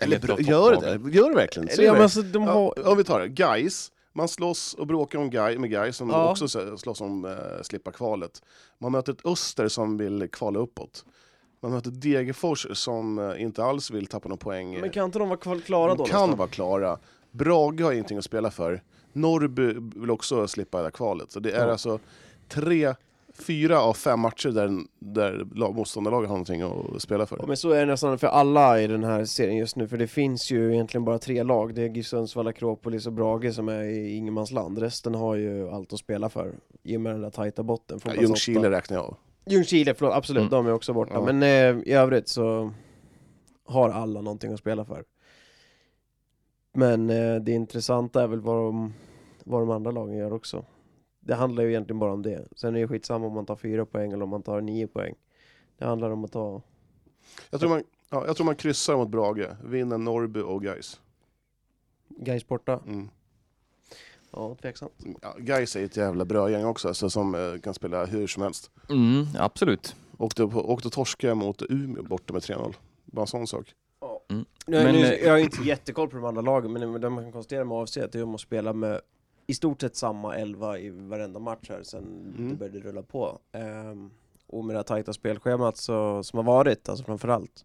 [SPEAKER 2] Eller
[SPEAKER 1] Eller
[SPEAKER 2] bra-
[SPEAKER 1] topp-
[SPEAKER 2] gör det?
[SPEAKER 1] topplag.
[SPEAKER 2] Gör det verkligen? Ser
[SPEAKER 3] ja,
[SPEAKER 2] vi?
[SPEAKER 3] men alltså, de har...
[SPEAKER 2] ja, om vi tar det, Guys. Man slåss och bråkar om Guy, med Guys som
[SPEAKER 3] Ja.
[SPEAKER 2] också så- slåss om eh, slippa kvalet. Man möter ett Öster som vill kvala uppåt. Man möter Degerfors som eh, inte alls vill tappa någon poäng.
[SPEAKER 3] Men kan inte de vara kval- klara då?
[SPEAKER 2] De kan
[SPEAKER 3] nästan?
[SPEAKER 2] vara klara. Brage har ingenting att spela för. Norrby vill också slippa det här kvalet. Så det är alltså tre, fyra av fem matcher där, där lag- motståndarlaget har någonting att spela
[SPEAKER 3] Ja,
[SPEAKER 2] för.
[SPEAKER 3] men så är det nästan för alla i den här serien just nu, för det finns ju egentligen bara tre lag. Det är GIF Sundsvall, Akropolis och Brage som är i ingenmansland. Resten har ju allt att spela för, i och med den där tajta botten.
[SPEAKER 2] Ja,
[SPEAKER 3] Fotbolls-
[SPEAKER 2] Ljungskile räknar jag av.
[SPEAKER 3] Ljungskile, förlåt, absolut,
[SPEAKER 1] Mm.
[SPEAKER 3] de är också borta.
[SPEAKER 2] Ja.
[SPEAKER 3] Men eh, i övrigt så har alla någonting att spela för. Men eh, det intressanta är väl vad de, vad de andra lagen gör också. Det handlar ju egentligen bara om det. Sen är det skitsamma om man tar fyra poäng eller om man tar nio poäng. Det handlar om att ta...
[SPEAKER 2] Jag tror man, ja, jag tror man kryssar mot Brage, vinner Norrby och Gais.
[SPEAKER 3] Gais borta?
[SPEAKER 2] Mm.
[SPEAKER 3] Ja, tveksamt.
[SPEAKER 2] Ja, Gais är ett jävla brödgäng också, alltså, som eh, kan spela hur som helst.
[SPEAKER 1] Mm, absolut.
[SPEAKER 2] Åkte, på- åkte torska mot Umeå borta med 3-0. Bara en sån sak.
[SPEAKER 3] Nu,
[SPEAKER 1] Men,
[SPEAKER 3] nu,
[SPEAKER 1] eh,
[SPEAKER 3] jag har ju inte jättekoll på de andra lagen, men det man kan konstatera med AFC är att de måste spela med i stort sett samma elva i varenda match här sen
[SPEAKER 2] Mm.
[SPEAKER 3] det började rulla på. Ehm, och med det här tajta spelschemat så, som har varit, alltså framförallt,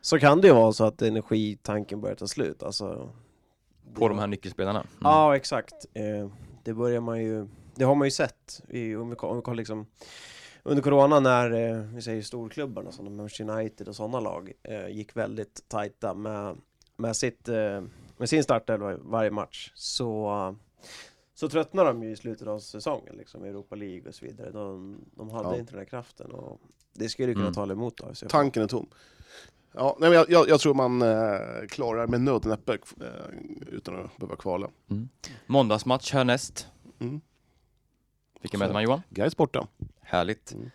[SPEAKER 3] så kan det ju vara så att energitanken börjar ta slut. Alltså,
[SPEAKER 1] På de här nyckelspelarna. Mm.
[SPEAKER 3] Ja, exakt. Eh, det börjar man ju, det har man ju sett i, om vi ko- om vi kollar liksom, under corona när eh, vi säger storklubbarna som Manchester United och sådana lag eh, gick väldigt tajta med, med, sitt, eh, med sin startelva i varje match så, så tröttnar de ju i slutet av säsongen, liksom, i Europa League och så vidare. De, de hade
[SPEAKER 2] Ja.
[SPEAKER 3] inte den här kraften och det skulle ju kunna
[SPEAKER 1] Mm.
[SPEAKER 3] tala emot då. så-
[SPEAKER 2] Tanken är tom. Ja, nej, men jag, jag, jag tror man eh, klarar med nöd och näppe eh, utan att behöva kvala.
[SPEAKER 1] Måndagsmatch härnäst.
[SPEAKER 2] Mm.
[SPEAKER 1] Vilka möter man Johan?
[SPEAKER 2] Gais borta.
[SPEAKER 1] Härligt.
[SPEAKER 2] Mm.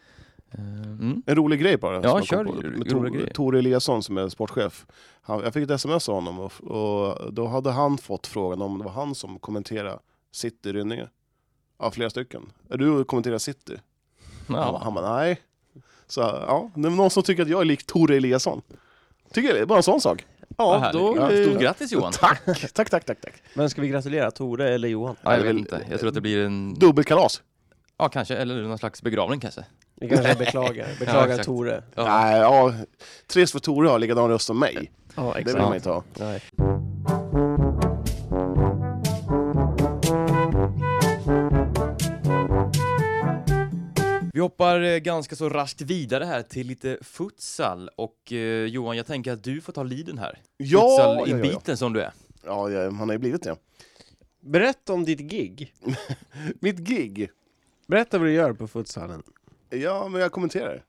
[SPEAKER 1] Eh, Mm.
[SPEAKER 2] En rolig grej bara. som jag kom
[SPEAKER 1] kör.
[SPEAKER 2] på. Med
[SPEAKER 1] Rolig
[SPEAKER 2] Tor,
[SPEAKER 1] grej.
[SPEAKER 2] Tor Eliasson som är sportchef. Han, jag fick ett sms av honom och, och då hade han fått frågan om det var han som kommenterade City Rynninge. Ja, flera stycken. Är du och kommenterar City? Han,
[SPEAKER 1] Ja.
[SPEAKER 2] bara, han bara, nej. Så ja, det är någon som tycker att jag är lik Tore Eliasson. Tycker jag det, bara en sån sak.
[SPEAKER 1] Ja, då,
[SPEAKER 2] Ja,
[SPEAKER 1] eh,
[SPEAKER 2] stort
[SPEAKER 1] stort grattis Johan!
[SPEAKER 2] Tack, tack, tack, tack. tack.
[SPEAKER 3] Men ska vi gratulera Tore eller Johan?
[SPEAKER 1] Ja, jag
[SPEAKER 2] Eller
[SPEAKER 1] vet
[SPEAKER 2] väl-
[SPEAKER 1] inte. Jag tror att det blir en...
[SPEAKER 2] Dubbelkalas.
[SPEAKER 1] Ja, kanske. Eller någon slags begravning kanske.
[SPEAKER 3] Vi kanske beklagar, beklagar
[SPEAKER 1] exakt.
[SPEAKER 3] Tore.
[SPEAKER 1] Ja.
[SPEAKER 2] Nej, ja. Trist för Tore har likadan röst som mig.
[SPEAKER 3] Ja,
[SPEAKER 2] Det vill man inte ha.
[SPEAKER 3] Nej.
[SPEAKER 1] Vi hoppar eh, ganska så raskt vidare här till lite futsal. Och eh, Johan, jag tänker att du får ta leaden här.
[SPEAKER 2] Ja, ja, ja,
[SPEAKER 1] Futsalinbiten som du är.
[SPEAKER 2] ja. ja, han har ju blivit det.
[SPEAKER 3] Berätta om ditt gig.
[SPEAKER 2] Mitt gig.
[SPEAKER 3] Berätta vad du gör på futsalen.
[SPEAKER 2] Ja, men jag kommenterar.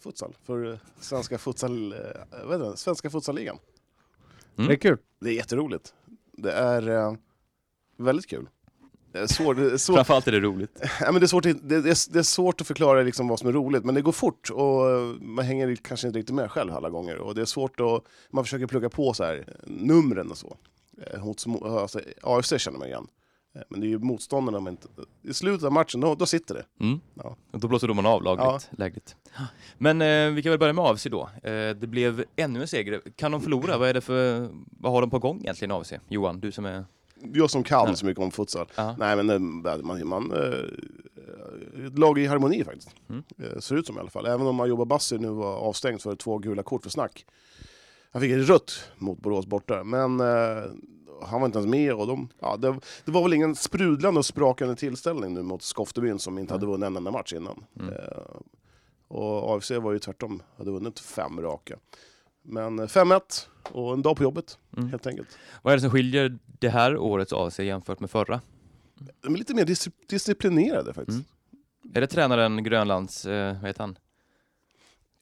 [SPEAKER 2] Futsal. För eh, svenska futsal... eh, Vad heter den? Svenska futsalligan.
[SPEAKER 1] Mm.
[SPEAKER 3] Det är kul.
[SPEAKER 2] Det är jätteroligt. Det är eh, väldigt kul. Det är svårt, det är svårt
[SPEAKER 1] Framförallt är det roligt.
[SPEAKER 2] Ja, men det, är svårt, att- det, det, är, det är svårt att förklara liksom vad som är roligt, men det går fort och eh, man hänger kanske inte riktigt med själv alla gånger. Och det är svårt att, man försöker plugga på så här, eh, numren och så. Eh, Mot, mot- alltså, AFC känner man igen. Eh, Men det är ju motståndarna man inte... I slutet av matchen, då, då sitter det.
[SPEAKER 1] Mm.
[SPEAKER 2] Ja.
[SPEAKER 1] Och Då blåser domaren av lagligt. Lägligt. Men eh, vi kan väl börja med AFC då. Eh, det blev ännu en seger. Kan de förlora? Vad, är det för, vad har de på gång egentligen AFC? Johan, du som är...
[SPEAKER 2] Jag som kan
[SPEAKER 1] Ja.
[SPEAKER 2] så mycket om futsal.
[SPEAKER 1] Ja.
[SPEAKER 2] Nej, men eh, man, man, eh, ett lag i harmoni faktiskt.
[SPEAKER 1] Mm.
[SPEAKER 2] Eh, Ser ut som i alla fall. Även om Majoba Bassi nu var avstängd för två gula kort för snack. Han fick ett rött mot Borås borta, men eh, han var inte ens med. Och de, ja, det, det var väl ingen sprudlande och sprakande tillställning nu mot Skoftebyn som inte hade vunnit en enda match innan.
[SPEAKER 1] Mm.
[SPEAKER 2] Eh, och AFC var ju tvärtom, hade vunnit fem raka. Men eh, 5-1 och en dag på jobbet
[SPEAKER 1] Mm.
[SPEAKER 2] helt enkelt.
[SPEAKER 1] Vad är det som skiljer det här årets AFC jämfört med förra?
[SPEAKER 2] De är lite mer dis- disciplinerade faktiskt.
[SPEAKER 1] Mm. Är det tränaren Grönlands, eh, vad heter han?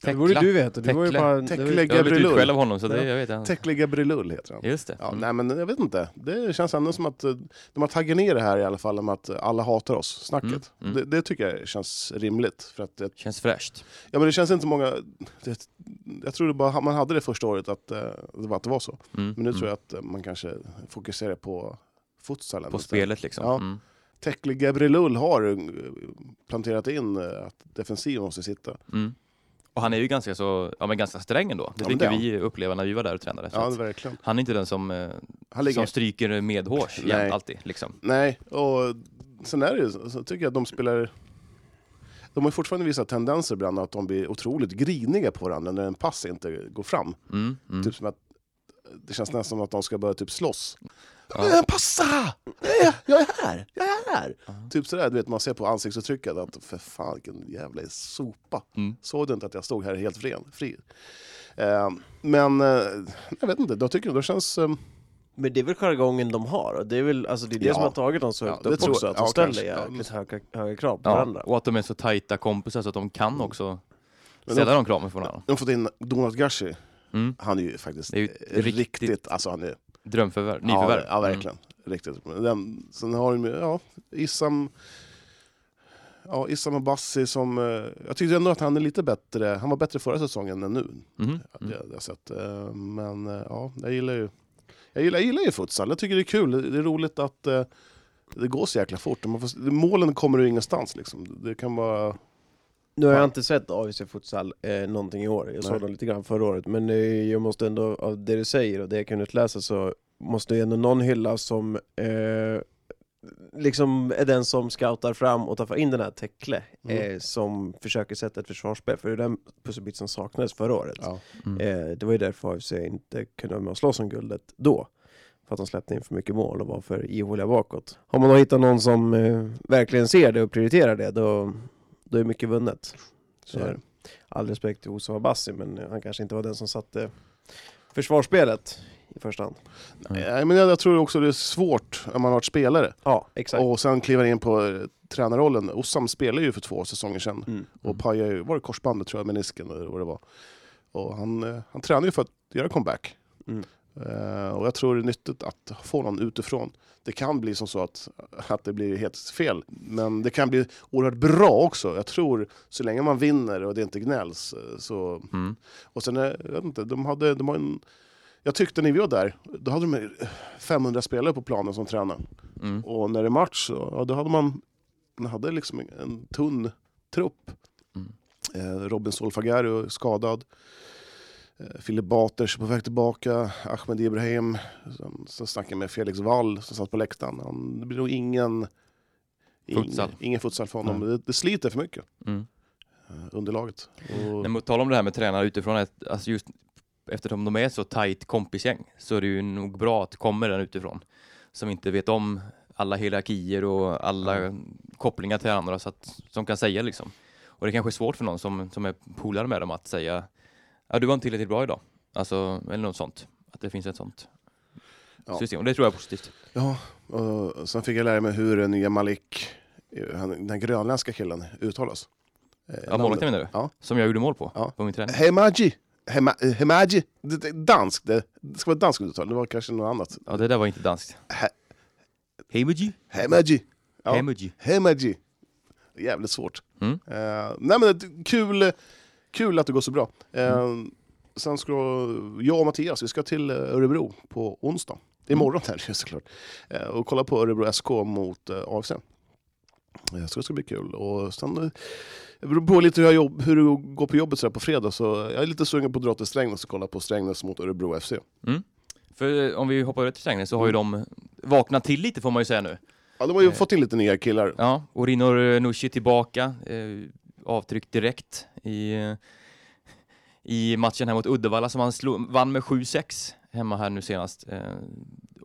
[SPEAKER 3] Det borde
[SPEAKER 1] Tekla.
[SPEAKER 3] du veta. Du var ju
[SPEAKER 1] Tekla.
[SPEAKER 3] bara...
[SPEAKER 2] Tekla.
[SPEAKER 3] det var ju-
[SPEAKER 1] Jag har blivit
[SPEAKER 2] Gabrielund.
[SPEAKER 1] utskälld av honom så det,
[SPEAKER 3] Ja.
[SPEAKER 1] jag vet inte.
[SPEAKER 2] Tekle Gabrielull heter han.
[SPEAKER 1] Just det.
[SPEAKER 2] Ja,
[SPEAKER 1] Mm.
[SPEAKER 2] Nej men jag vet inte. Det känns ändå som att eh, de har taggat ner det här i alla fall om att eh, alla hatar oss, snacket.
[SPEAKER 1] Mm, mm.
[SPEAKER 2] Det, det tycker jag känns rimligt. För att det,
[SPEAKER 1] Känns fräscht.
[SPEAKER 2] ja, men det känns inte så många... Det, jag tror det bara, man hade det första året att, eh, det var- att det var så.
[SPEAKER 1] Mm.
[SPEAKER 2] Men nu
[SPEAKER 1] mm.
[SPEAKER 2] tror jag att eh, man kanske fokuserar på futsalen.
[SPEAKER 1] På
[SPEAKER 2] istället.
[SPEAKER 1] spelet liksom.
[SPEAKER 2] Ja.
[SPEAKER 1] Mm.
[SPEAKER 2] Tekle Gabrielull har eh, planterat in eh, att defensiven måste sitta.
[SPEAKER 1] Mm. Och han är ju ganska så, ja men ganska sträng ändå. Det
[SPEAKER 2] Ja,
[SPEAKER 1] fick
[SPEAKER 2] men det
[SPEAKER 1] ju
[SPEAKER 2] är han.
[SPEAKER 1] vi uppleva när vi var där och tränade. Så
[SPEAKER 2] Ja,
[SPEAKER 1] att
[SPEAKER 2] verkligen.
[SPEAKER 1] han är inte den som, eh,
[SPEAKER 2] Han ligger
[SPEAKER 1] som stryker medhårs
[SPEAKER 2] Nej.
[SPEAKER 1] jämt alltid liksom.
[SPEAKER 2] Nej, och sen är det ju så så tycker jag att de spelar... De har ju fortfarande vissa tendenser ibland att de blir otroligt griniga på varandra när en pass inte går fram.
[SPEAKER 1] Mm. Mm.
[SPEAKER 2] Typ som att, det känns nästan som att de ska börja typ slåss.
[SPEAKER 1] Ja.
[SPEAKER 2] "Eh, Passa! Eh, Jag är här! Jag är här! Typ sådär, du vet, man ser på ansiktsuttrycket att för fan vilken jävla sopa.
[SPEAKER 1] Mm.
[SPEAKER 2] Såg du inte att jag stod här helt fri? fri? Eh, men eh, jag vet inte, då tycker jag, då känns... Eh,
[SPEAKER 3] Men det är väl jargongen de har? och Det är väl alltså, det, är det
[SPEAKER 2] Ja.
[SPEAKER 3] som har tagit dem så
[SPEAKER 2] Ja,
[SPEAKER 3] högt
[SPEAKER 2] det
[SPEAKER 3] upp
[SPEAKER 2] tror
[SPEAKER 3] också,
[SPEAKER 2] jag.
[SPEAKER 3] att de
[SPEAKER 2] Ja,
[SPEAKER 3] ställer
[SPEAKER 2] kanske. Mm. Ja,
[SPEAKER 3] jäkligt höga, höga krav på
[SPEAKER 1] Ja.
[SPEAKER 3] varandra.
[SPEAKER 1] Och att de är så tajta kompisar så att de kan också
[SPEAKER 2] Mm. Men
[SPEAKER 1] ställa de kraven för varandra.
[SPEAKER 2] de har fått in Donald Gashi.
[SPEAKER 1] Mm.
[SPEAKER 2] Han är ju faktiskt
[SPEAKER 1] Det är ju
[SPEAKER 2] eh, riktigt,
[SPEAKER 1] riktigt
[SPEAKER 2] alltså han är
[SPEAKER 1] Drömförvärv, nyförvärv. Mm.
[SPEAKER 2] Ja, ja verkligen. Riktigt. Men Den, sen har de ju, ja, Issam... Ja, Issam Abassi som... eh, Jag tyckte ändå att han är lite bättre. Han var bättre förra säsongen än nu.
[SPEAKER 1] Mm. Mm.
[SPEAKER 2] Det, det har jag sett. Eh, Men eh, ja, jag gillar ju... Jag gillar, jag gillar ju futsal. Jag tycker det är kul. Det- Det är roligt att eh, det går så jäkla fort. Man får, målen kommer ju ingenstans liksom. Det kan vara...
[SPEAKER 3] Nu har jag inte sett AFC Futsal eh, någonting i år, jag
[SPEAKER 2] Nej.
[SPEAKER 3] såg dem lite grann förra året, men eh, jag måste ändå, av det du säger och det jag kan utläsa så måste ju ändå någon hylla som eh, liksom är den som scoutar fram och tar in den här Tekle,
[SPEAKER 2] Mm.
[SPEAKER 3] eh, som försöker sätta ett försvarsspel, för det är den pusselbit som saknades förra året.
[SPEAKER 2] Ja.
[SPEAKER 1] mm.
[SPEAKER 2] Mm.
[SPEAKER 3] Eh, det var ju därför AFC inte kunde vara med och slåss om guldet då. För att de släppte in för mycket mål och var för ihåliga bakåt. Har man då hittat någon som eh, verkligen ser det och prioriterar det, då, då är mycket vunnet. Eh,
[SPEAKER 2] Så är det.
[SPEAKER 3] All respekt till Ousa Bassi, men eh, han kanske inte var den som satte försvarsspelet i första hand.
[SPEAKER 2] Nej, men jag, jag tror också det är svårt när man har varit spelare.
[SPEAKER 3] Ja, exakt.
[SPEAKER 2] Och sen kliver in på eh, tränarrollen. Ossam spelade ju för två säsonger sedan
[SPEAKER 3] Mm.
[SPEAKER 2] och pajade ju, var det korsbandet tror jag, menisken eller vad det var. Och han, eh, han tränade ju för att göra comeback.
[SPEAKER 3] Mm.
[SPEAKER 2] Eh, och jag tror det är nyttigt att få någon utifrån. Det kan bli som så att, att det blir helt fel, men det kan bli oerhört bra också. Jag tror så länge man vinner och det inte gnälls eh, så
[SPEAKER 1] Mm.
[SPEAKER 2] och sen, eh, jag vet inte, de hade, de har en, jag tyckte när vi var där, då hade de eh, 500 spelare på planen som tränade.
[SPEAKER 1] Mm.
[SPEAKER 2] Och när det är match, så, ja, då hade man man hade liksom en, en tunn trupp.
[SPEAKER 1] Mm.
[SPEAKER 2] Eh, Robin Solfagari är skadad. Eh, Filip Baters på väg tillbaka. Ahmed Ibrahim. Sen, sen snackade jag med Felix Wall som satt på läktaren. Han, det blir nog ingen
[SPEAKER 1] Futsal.
[SPEAKER 2] Ingen, ingen futsal för honom. Det, det sliter för mycket,
[SPEAKER 1] Mm.
[SPEAKER 2] eh, underlaget. Och,
[SPEAKER 1] Men på tal om det här med tränare utifrån, att- alltså just eftersom de är så tajt kompisgäng så är det ju nog bra att det kommer den utifrån som inte vet om alla hierarkier och alla kopplingar till andra så att, som kan säga liksom. Och det kanske är svårt för någon som, som är polare med dem att säga ja du var inte tillräckligt bra idag. Alltså, eller något sånt. Att det finns ett sånt
[SPEAKER 2] Ja.
[SPEAKER 1] system. Och det tror jag är positivt.
[SPEAKER 2] Ja, och eh, sen fick jag lära mig hur den nya Malik, eh, han- den grönländska killen, uttalas. Eh,
[SPEAKER 1] Ja, målvakten menar du?
[SPEAKER 2] Ja.
[SPEAKER 1] Som jag gjorde mål på,
[SPEAKER 2] Ja.
[SPEAKER 1] på min träning.
[SPEAKER 2] Hemaji! Hema- eh, Hemaji! Det, det, är dansk, det, det ska vara danskt uttal, det var kanske något annat.
[SPEAKER 1] Ja, det där var inte danskt.
[SPEAKER 2] He-
[SPEAKER 1] Hemuji?
[SPEAKER 2] Hemaji! Ja.
[SPEAKER 1] Hemuji.
[SPEAKER 2] Hemaji! Jävligt svårt.
[SPEAKER 1] Mm.
[SPEAKER 2] Eh, nej men det- kul, kul att det går så bra. Eh,
[SPEAKER 1] Mm.
[SPEAKER 2] Sen ska jag och Mattias, vi ska till eh, Örebro på onsdag. Det är imorgon
[SPEAKER 1] Mm.
[SPEAKER 2] här ju såklart. Eh, Och kolla på Örebro SK mot eh, AFC. Eh, Så det ska bli kul. Och sen, eh, det beror på lite hur, jag jobb, hur det går på jobbet så här på fredag. Så jag är lite sugen på att dra till Strängnäs och kolla på Strängnäs mot Örebro FC.
[SPEAKER 1] För eh, om vi hoppar över till Strängnäs så har ju de vaknat till lite får man ju säga nu.
[SPEAKER 2] Ja, de har ju fått in lite nya killar.
[SPEAKER 1] Eh. Ja, och Rinor eh, Nushi tillbaka. Eh, avtryck direkt i, eh, i matchen här mot Uddevalla som han slog, vann med 7-6 hemma här nu senast. Eh,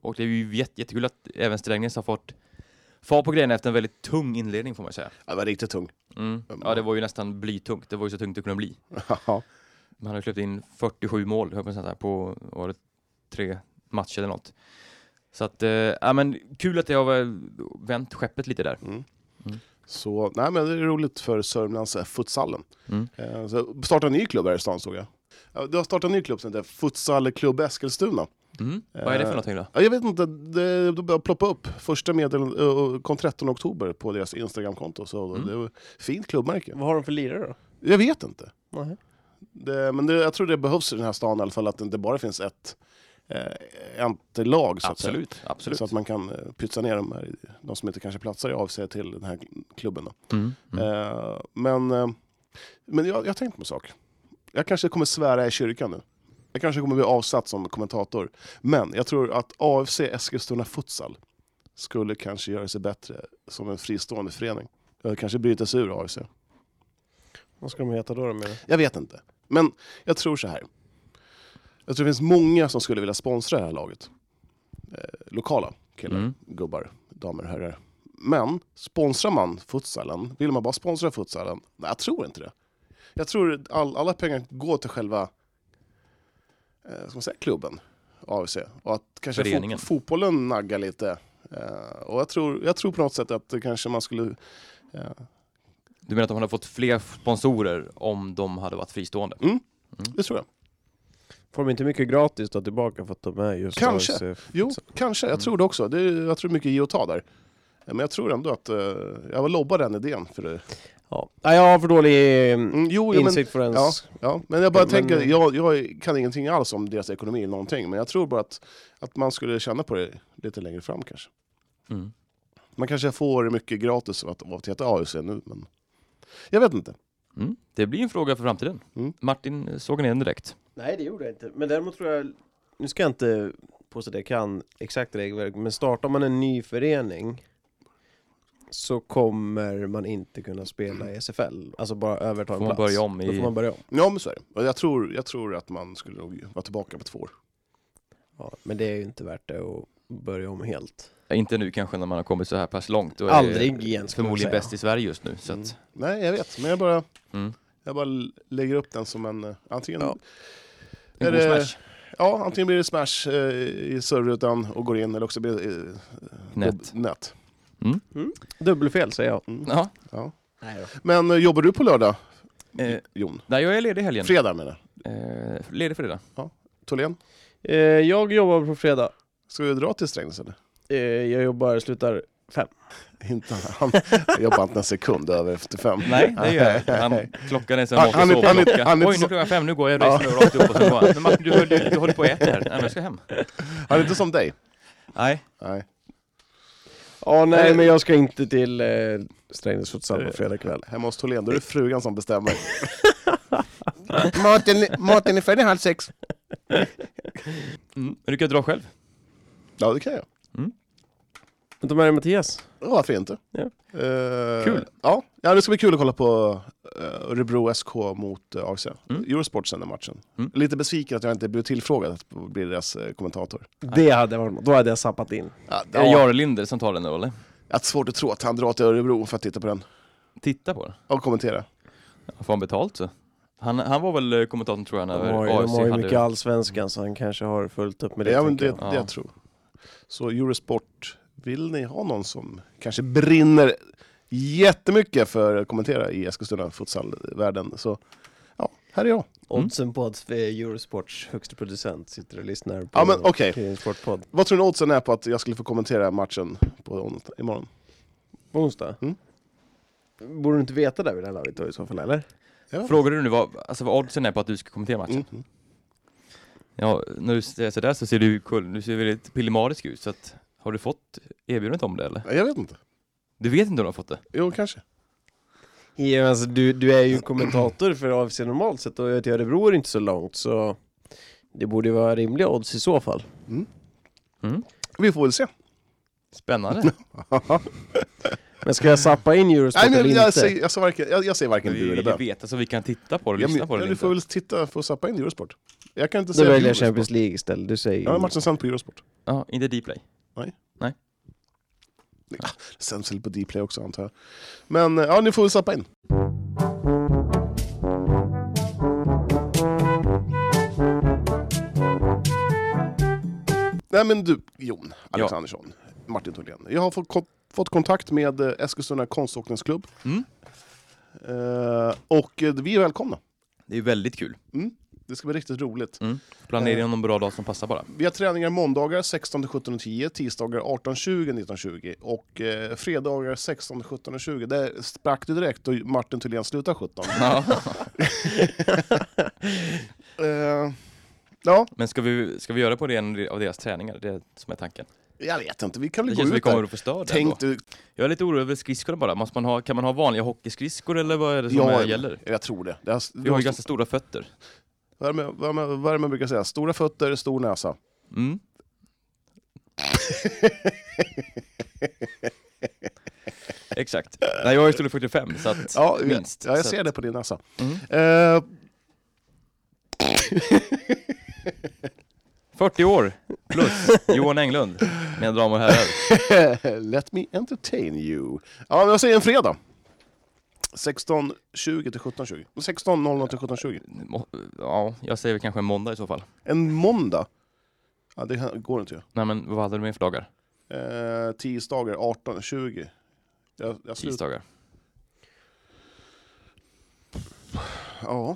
[SPEAKER 1] och det är ju jätte, jättekul att även Strängnäs har fått fart på grejerna efter en väldigt tung inledning får man ju säga.
[SPEAKER 2] Ja, det var riktigt tung.
[SPEAKER 1] Mm. Ja, det var ju nästan blytungt. Det var ju så tungt det kunde bli.
[SPEAKER 2] Ja.
[SPEAKER 1] Man har ju släppt in 47 mål höll jag på, att säga, på var det tre matcher eller något. Så att, eh, ja men kul att jag har eh, vänt skeppet lite där.
[SPEAKER 2] Så nej, men det är roligt för Sörmlands eh, futsalen.
[SPEAKER 1] Mm.
[SPEAKER 2] Eh, Så starta en ny klubb här i stan såg jag. Ja, Du har startat en ny klubb som heter Futsal Klubb Eskilstuna.
[SPEAKER 1] Mm. Vad är det för
[SPEAKER 2] Eh,
[SPEAKER 1] någonting då?
[SPEAKER 2] Ja, jag vet inte, det, det började ploppa upp. Första meddelandet kom 13 oktober på deras Instagramkonto. Så
[SPEAKER 1] Mm.
[SPEAKER 2] det var ett fint klubbmärke.
[SPEAKER 3] Vad har de för lirare då?
[SPEAKER 2] Jag vet inte.
[SPEAKER 3] Nej.
[SPEAKER 2] Det, men det, jag tror det behövs i den här stan i alla fall, att det inte bara finns ett, eh, ett lag. Så att, säga.
[SPEAKER 1] Absolut, absolut.
[SPEAKER 2] så att man kan eh, pytsa ner de, här, de som inte kanske platsar i avse till den här klubben. Då.
[SPEAKER 1] Mm. Mm.
[SPEAKER 2] Eh, men eh, men jag, jag har tänkt på en sak. Jag kanske kommer svära i kyrkan nu. Jag kanske kommer bli avsatt som kommentator. Men jag tror att AFC Eskilstuna Futsal skulle kanske göra sig bättre som en fristående förening. Eller kanske bryta sig ur AFC.
[SPEAKER 3] Vad ska de heta då? Med?
[SPEAKER 2] Jag vet inte. Men jag tror så här. Jag tror det finns många som skulle vilja sponsra det här laget. Eh, lokala killar,
[SPEAKER 1] Mm.
[SPEAKER 2] gubbar, damer och herrar. Men sponsrar man futsalen, vill man bara sponsra futsalen? Nej, jag tror inte det. Jag tror att all, alla pengar går till själva eh, ska man säga, klubben, AFC. Och att kanske
[SPEAKER 1] Föreningen.
[SPEAKER 2] fot, fotbollen naggar lite. Eh, och jag tror, jag tror på något sätt att det kanske man skulle... Eh,
[SPEAKER 1] Du menar att de hade fått fler sponsorer om de hade varit fristående?
[SPEAKER 2] det tror jag.
[SPEAKER 3] Får de inte mycket gratis då tillbaka för att de är just
[SPEAKER 2] Kanske.
[SPEAKER 3] AFC?
[SPEAKER 2] Jo, kanske. Jag tror det också. Det är, jag tror mycket ge och ta där. Eh, Men jag tror ändå att... eh, jag lobbar den idén. För det.
[SPEAKER 3] Ja. Nej, jag har för dålig eh,
[SPEAKER 2] Mm, jo, jo, men,
[SPEAKER 3] insikt för ens...
[SPEAKER 2] ja, ja, men jag bara
[SPEAKER 3] Men-
[SPEAKER 2] tänker, jag, jag kan ingenting alls om deras ekonomi eller någonting. Men jag tror bara att, att man skulle känna på det lite längre fram kanske.
[SPEAKER 1] Mm.
[SPEAKER 2] Man kanske får mycket gratis av att, av att heta AUC nu, men... Jag vet inte.
[SPEAKER 1] Mm. Det blir en fråga för framtiden.
[SPEAKER 2] Mm.
[SPEAKER 1] Martin eh, såg ner den direkt.
[SPEAKER 3] Nej, det gjorde jag inte. Men däremot tror jag, nu ska jag inte påstå att jag kan exakt regelverk, men startar man en ny förening så kommer man inte kunna spela i SFL, alltså bara överta en
[SPEAKER 1] Får man
[SPEAKER 3] plats.
[SPEAKER 1] börja om
[SPEAKER 3] Då
[SPEAKER 1] i...
[SPEAKER 3] får man börja om.
[SPEAKER 2] Ja, men så är det. Och Jag tror, jag tror att man skulle nog vara tillbaka på två år.
[SPEAKER 3] Ja, men det är ju inte värt det att börja om helt.
[SPEAKER 1] Ja, Eh, Inte nu kanske när man har kommit så här pass långt. Då är
[SPEAKER 3] Aldrig
[SPEAKER 1] det
[SPEAKER 3] igen, skulle jag
[SPEAKER 1] Förmodligen
[SPEAKER 3] säga.
[SPEAKER 1] bäst i Sverige just nu. Så att,
[SPEAKER 2] Mm. Nej, jag vet. Men jag bara,
[SPEAKER 1] Mm.
[SPEAKER 2] jag bara lägger upp den som en... eh, Antingen
[SPEAKER 3] Ja.
[SPEAKER 1] en
[SPEAKER 2] Är
[SPEAKER 1] god
[SPEAKER 2] det-
[SPEAKER 1] smash.
[SPEAKER 2] Ja, antingen blir det smash eh, i serverrutan och går in, eller också blir det eh,
[SPEAKER 1] Knät.
[SPEAKER 2] gob- nät.
[SPEAKER 3] Dubbelfel säger jag.
[SPEAKER 1] Ja.
[SPEAKER 2] Ja.
[SPEAKER 3] Nej då.
[SPEAKER 2] Men eh, jobbar du på lördag,
[SPEAKER 1] Eh,
[SPEAKER 2] Jon?
[SPEAKER 1] nej, jag är ledig i helgen.
[SPEAKER 2] Fredag menar jag.
[SPEAKER 1] Eh, ledig fredag.
[SPEAKER 2] Tholén,
[SPEAKER 3] Eh, jag jobbar på fredag.
[SPEAKER 2] ska du dra till Strängnäs eller?
[SPEAKER 3] Eh, jag jobbar, slutar fem.
[SPEAKER 2] Inte han. Jag jobbar inte en sekund över efter fem.
[SPEAKER 1] Nej, det gör jag inte. Han, Klockan är som
[SPEAKER 2] Han-
[SPEAKER 1] vanligt
[SPEAKER 2] han är- han är-
[SPEAKER 1] sovklocka.
[SPEAKER 2] han är-
[SPEAKER 1] Oj, nu är klockan fem, nu går jag och reser mig rakt upp och sen bara, men Martin du, höll- du håller på att äta här, Nej, men jag ska hem.
[SPEAKER 2] Han är inte som dig.
[SPEAKER 1] Nej,
[SPEAKER 2] Nej.
[SPEAKER 3] Ja, nej, men jag ska inte till eh, Strängnäs futsal på fredag kväll.
[SPEAKER 2] Eh. Hemma hos Thulén, då är det frugan som bestämmer.
[SPEAKER 6] Maten, maten är färdig halv sex.
[SPEAKER 1] Mm. Men du kan dra själv.
[SPEAKER 2] Ja, det kan jag.
[SPEAKER 3] Men ta med dig Mattias.
[SPEAKER 2] Ja, Varför inte?
[SPEAKER 3] Ja.
[SPEAKER 2] Eh,
[SPEAKER 1] Kul.
[SPEAKER 2] Ja. ja, det ska bli kul att kolla på eh, Örebro SK mot uh, AFC.
[SPEAKER 1] Mm.
[SPEAKER 2] Eurosport sänder matchen.
[SPEAKER 1] Mm.
[SPEAKER 2] Lite besviken att jag inte blev tillfrågad att bli deras eh, kommentator.
[SPEAKER 3] Det hade varit något. Då hade jag zappat in.
[SPEAKER 2] Ja, det
[SPEAKER 1] Är det
[SPEAKER 2] ja,
[SPEAKER 1] Jare Linder som tar den då eller?
[SPEAKER 2] jag har svårt att tro att han drar till Örebro för att titta på den
[SPEAKER 1] Titta på den.
[SPEAKER 2] och kommentera.
[SPEAKER 1] Ja, Får han betalt så? Han, han var väl eh, kommentatorn tror jag när
[SPEAKER 3] De har ju, de
[SPEAKER 1] AFC
[SPEAKER 3] har ju
[SPEAKER 1] hade-
[SPEAKER 3] mycket allsvenskan så han kanske har fullt upp med det.
[SPEAKER 2] ja, men
[SPEAKER 3] tänker
[SPEAKER 2] det,
[SPEAKER 3] jag.
[SPEAKER 1] jag.
[SPEAKER 2] det
[SPEAKER 1] Ja.
[SPEAKER 2] jag tror Så Eurosport, vill ni ha någon som kanske brinner jättemycket för att kommentera i Eskilstuna futsalvärlden så ja, här är jag.
[SPEAKER 3] Oddsen på att eh, Eurosports högste producent sitter och lyssnar på
[SPEAKER 2] Ja, men okej.
[SPEAKER 3] Kring Sportpodd.
[SPEAKER 2] Vad tror ni oddsen är på att jag skulle få kommentera matchen på onsdag, imorgon?
[SPEAKER 3] På onsdag? Mm.
[SPEAKER 2] Mm.
[SPEAKER 3] Borde du inte veta det vid det här laget då i så fall, eller?
[SPEAKER 2] Ja.
[SPEAKER 1] Frågar du nu vad, alltså, vad oddsen är på att du ska kommentera matchen?
[SPEAKER 3] Alltså.
[SPEAKER 2] Mm.
[SPEAKER 1] Ja, när du säger sådär så ser du, kul- du ser väldigt pillemarisk ut så att, har du fått erbjudandet om det eller?
[SPEAKER 2] Jag vet inte.
[SPEAKER 1] Du vet inte om du har fått det?
[SPEAKER 2] Jo, kanske.
[SPEAKER 3] Ja, alltså, du, du är ju kommentator för AFC normalt sett och till Örebro är det inte så långt så det borde ju vara rimliga odds i så fall.
[SPEAKER 2] Vi får väl se.
[SPEAKER 1] Spännande!
[SPEAKER 3] Men ska jag zappa in Eurosport
[SPEAKER 2] Nej, men
[SPEAKER 3] eller
[SPEAKER 2] jag,
[SPEAKER 3] inte?
[SPEAKER 2] säger, jag, sa varken, jag, jag säger varken
[SPEAKER 1] vi
[SPEAKER 2] du eller
[SPEAKER 1] vill
[SPEAKER 2] bön.
[SPEAKER 1] ju veta så vi kan titta på det och
[SPEAKER 2] Ja, men-
[SPEAKER 1] lyssna på det
[SPEAKER 2] ja,
[SPEAKER 1] eller
[SPEAKER 2] du får
[SPEAKER 1] inte.
[SPEAKER 2] väl titta, får zappa in Eurosport. Jag kan inte
[SPEAKER 3] Då
[SPEAKER 2] säga
[SPEAKER 3] väljer jag
[SPEAKER 2] Eurosport.
[SPEAKER 3] Champions League istället, du säger
[SPEAKER 2] Ja, matchen sänd på Eurosport.
[SPEAKER 1] Ja, inte Dplay.
[SPEAKER 2] Sänds väl på Dplay också antar jag. Men eh, ja, ni får väl zappa in. Nej men du, Jon Alexandersson, Martin Thorén. Jag har fått, kon- fått kontakt med eh, Eskilstuna konståkningsklubb.
[SPEAKER 1] Mm.
[SPEAKER 2] Eh, och eh, vi är välkomna.
[SPEAKER 1] Det är väldigt kul.
[SPEAKER 2] Det ska bli riktigt roligt.
[SPEAKER 1] Planera in någon bra dag som passar bara.
[SPEAKER 2] Vi har träningar måndagar 16 17 10, tisdagar 18 20, 19 20 och eh, fredagar 16 17 20. Där sprack du direkt och Martin Thulén slutade 17.
[SPEAKER 1] Ja.
[SPEAKER 2] Eh, ja,
[SPEAKER 1] Men ska vi, ska vi göra på det en av deras träningar? Det är som är tanken.
[SPEAKER 2] jag vet inte, vi kan
[SPEAKER 1] Det
[SPEAKER 2] väl
[SPEAKER 1] känns
[SPEAKER 2] gå
[SPEAKER 1] som vi
[SPEAKER 2] ut
[SPEAKER 1] kommer
[SPEAKER 2] där.
[SPEAKER 1] att förstöra det ändå.
[SPEAKER 2] Tänk du,
[SPEAKER 1] Jag är lite orolig över skridskorna bara. Måste man ha, kan man ha vanliga hockeyskridskor eller vad är det som
[SPEAKER 2] ja,
[SPEAKER 1] är, gäller?
[SPEAKER 2] jag tror det. det har,
[SPEAKER 1] Vi har ju ganska stora fötter.
[SPEAKER 2] vad, är det, man- vad, är det man- vad är det man brukar säga? Stora fötter, stor näsa.
[SPEAKER 1] Mm. Exakt. Nej, jag är storlek 45 så att
[SPEAKER 2] Ja, jag-
[SPEAKER 1] minst.
[SPEAKER 2] Ja, jag
[SPEAKER 1] Så
[SPEAKER 2] ser
[SPEAKER 1] att-
[SPEAKER 2] det på din näsa.
[SPEAKER 1] Mm.
[SPEAKER 2] Eh,
[SPEAKER 1] 40 år plus Johan Englund, mina damer och herrar.
[SPEAKER 2] Let me entertain you. Ja, men jag säger en fredag. 16.20 till 17.20. 16.00 till 17.20.
[SPEAKER 1] Må- Ja, jag säger väl kanske en måndag i så fall.
[SPEAKER 2] En måndag? Ja, det här går inte. ju.
[SPEAKER 1] Nej men vad hade du med för dagar?
[SPEAKER 2] Eh, tisdagar 18.20. Jag, jag slut-
[SPEAKER 1] Tisdagar.
[SPEAKER 2] Ja.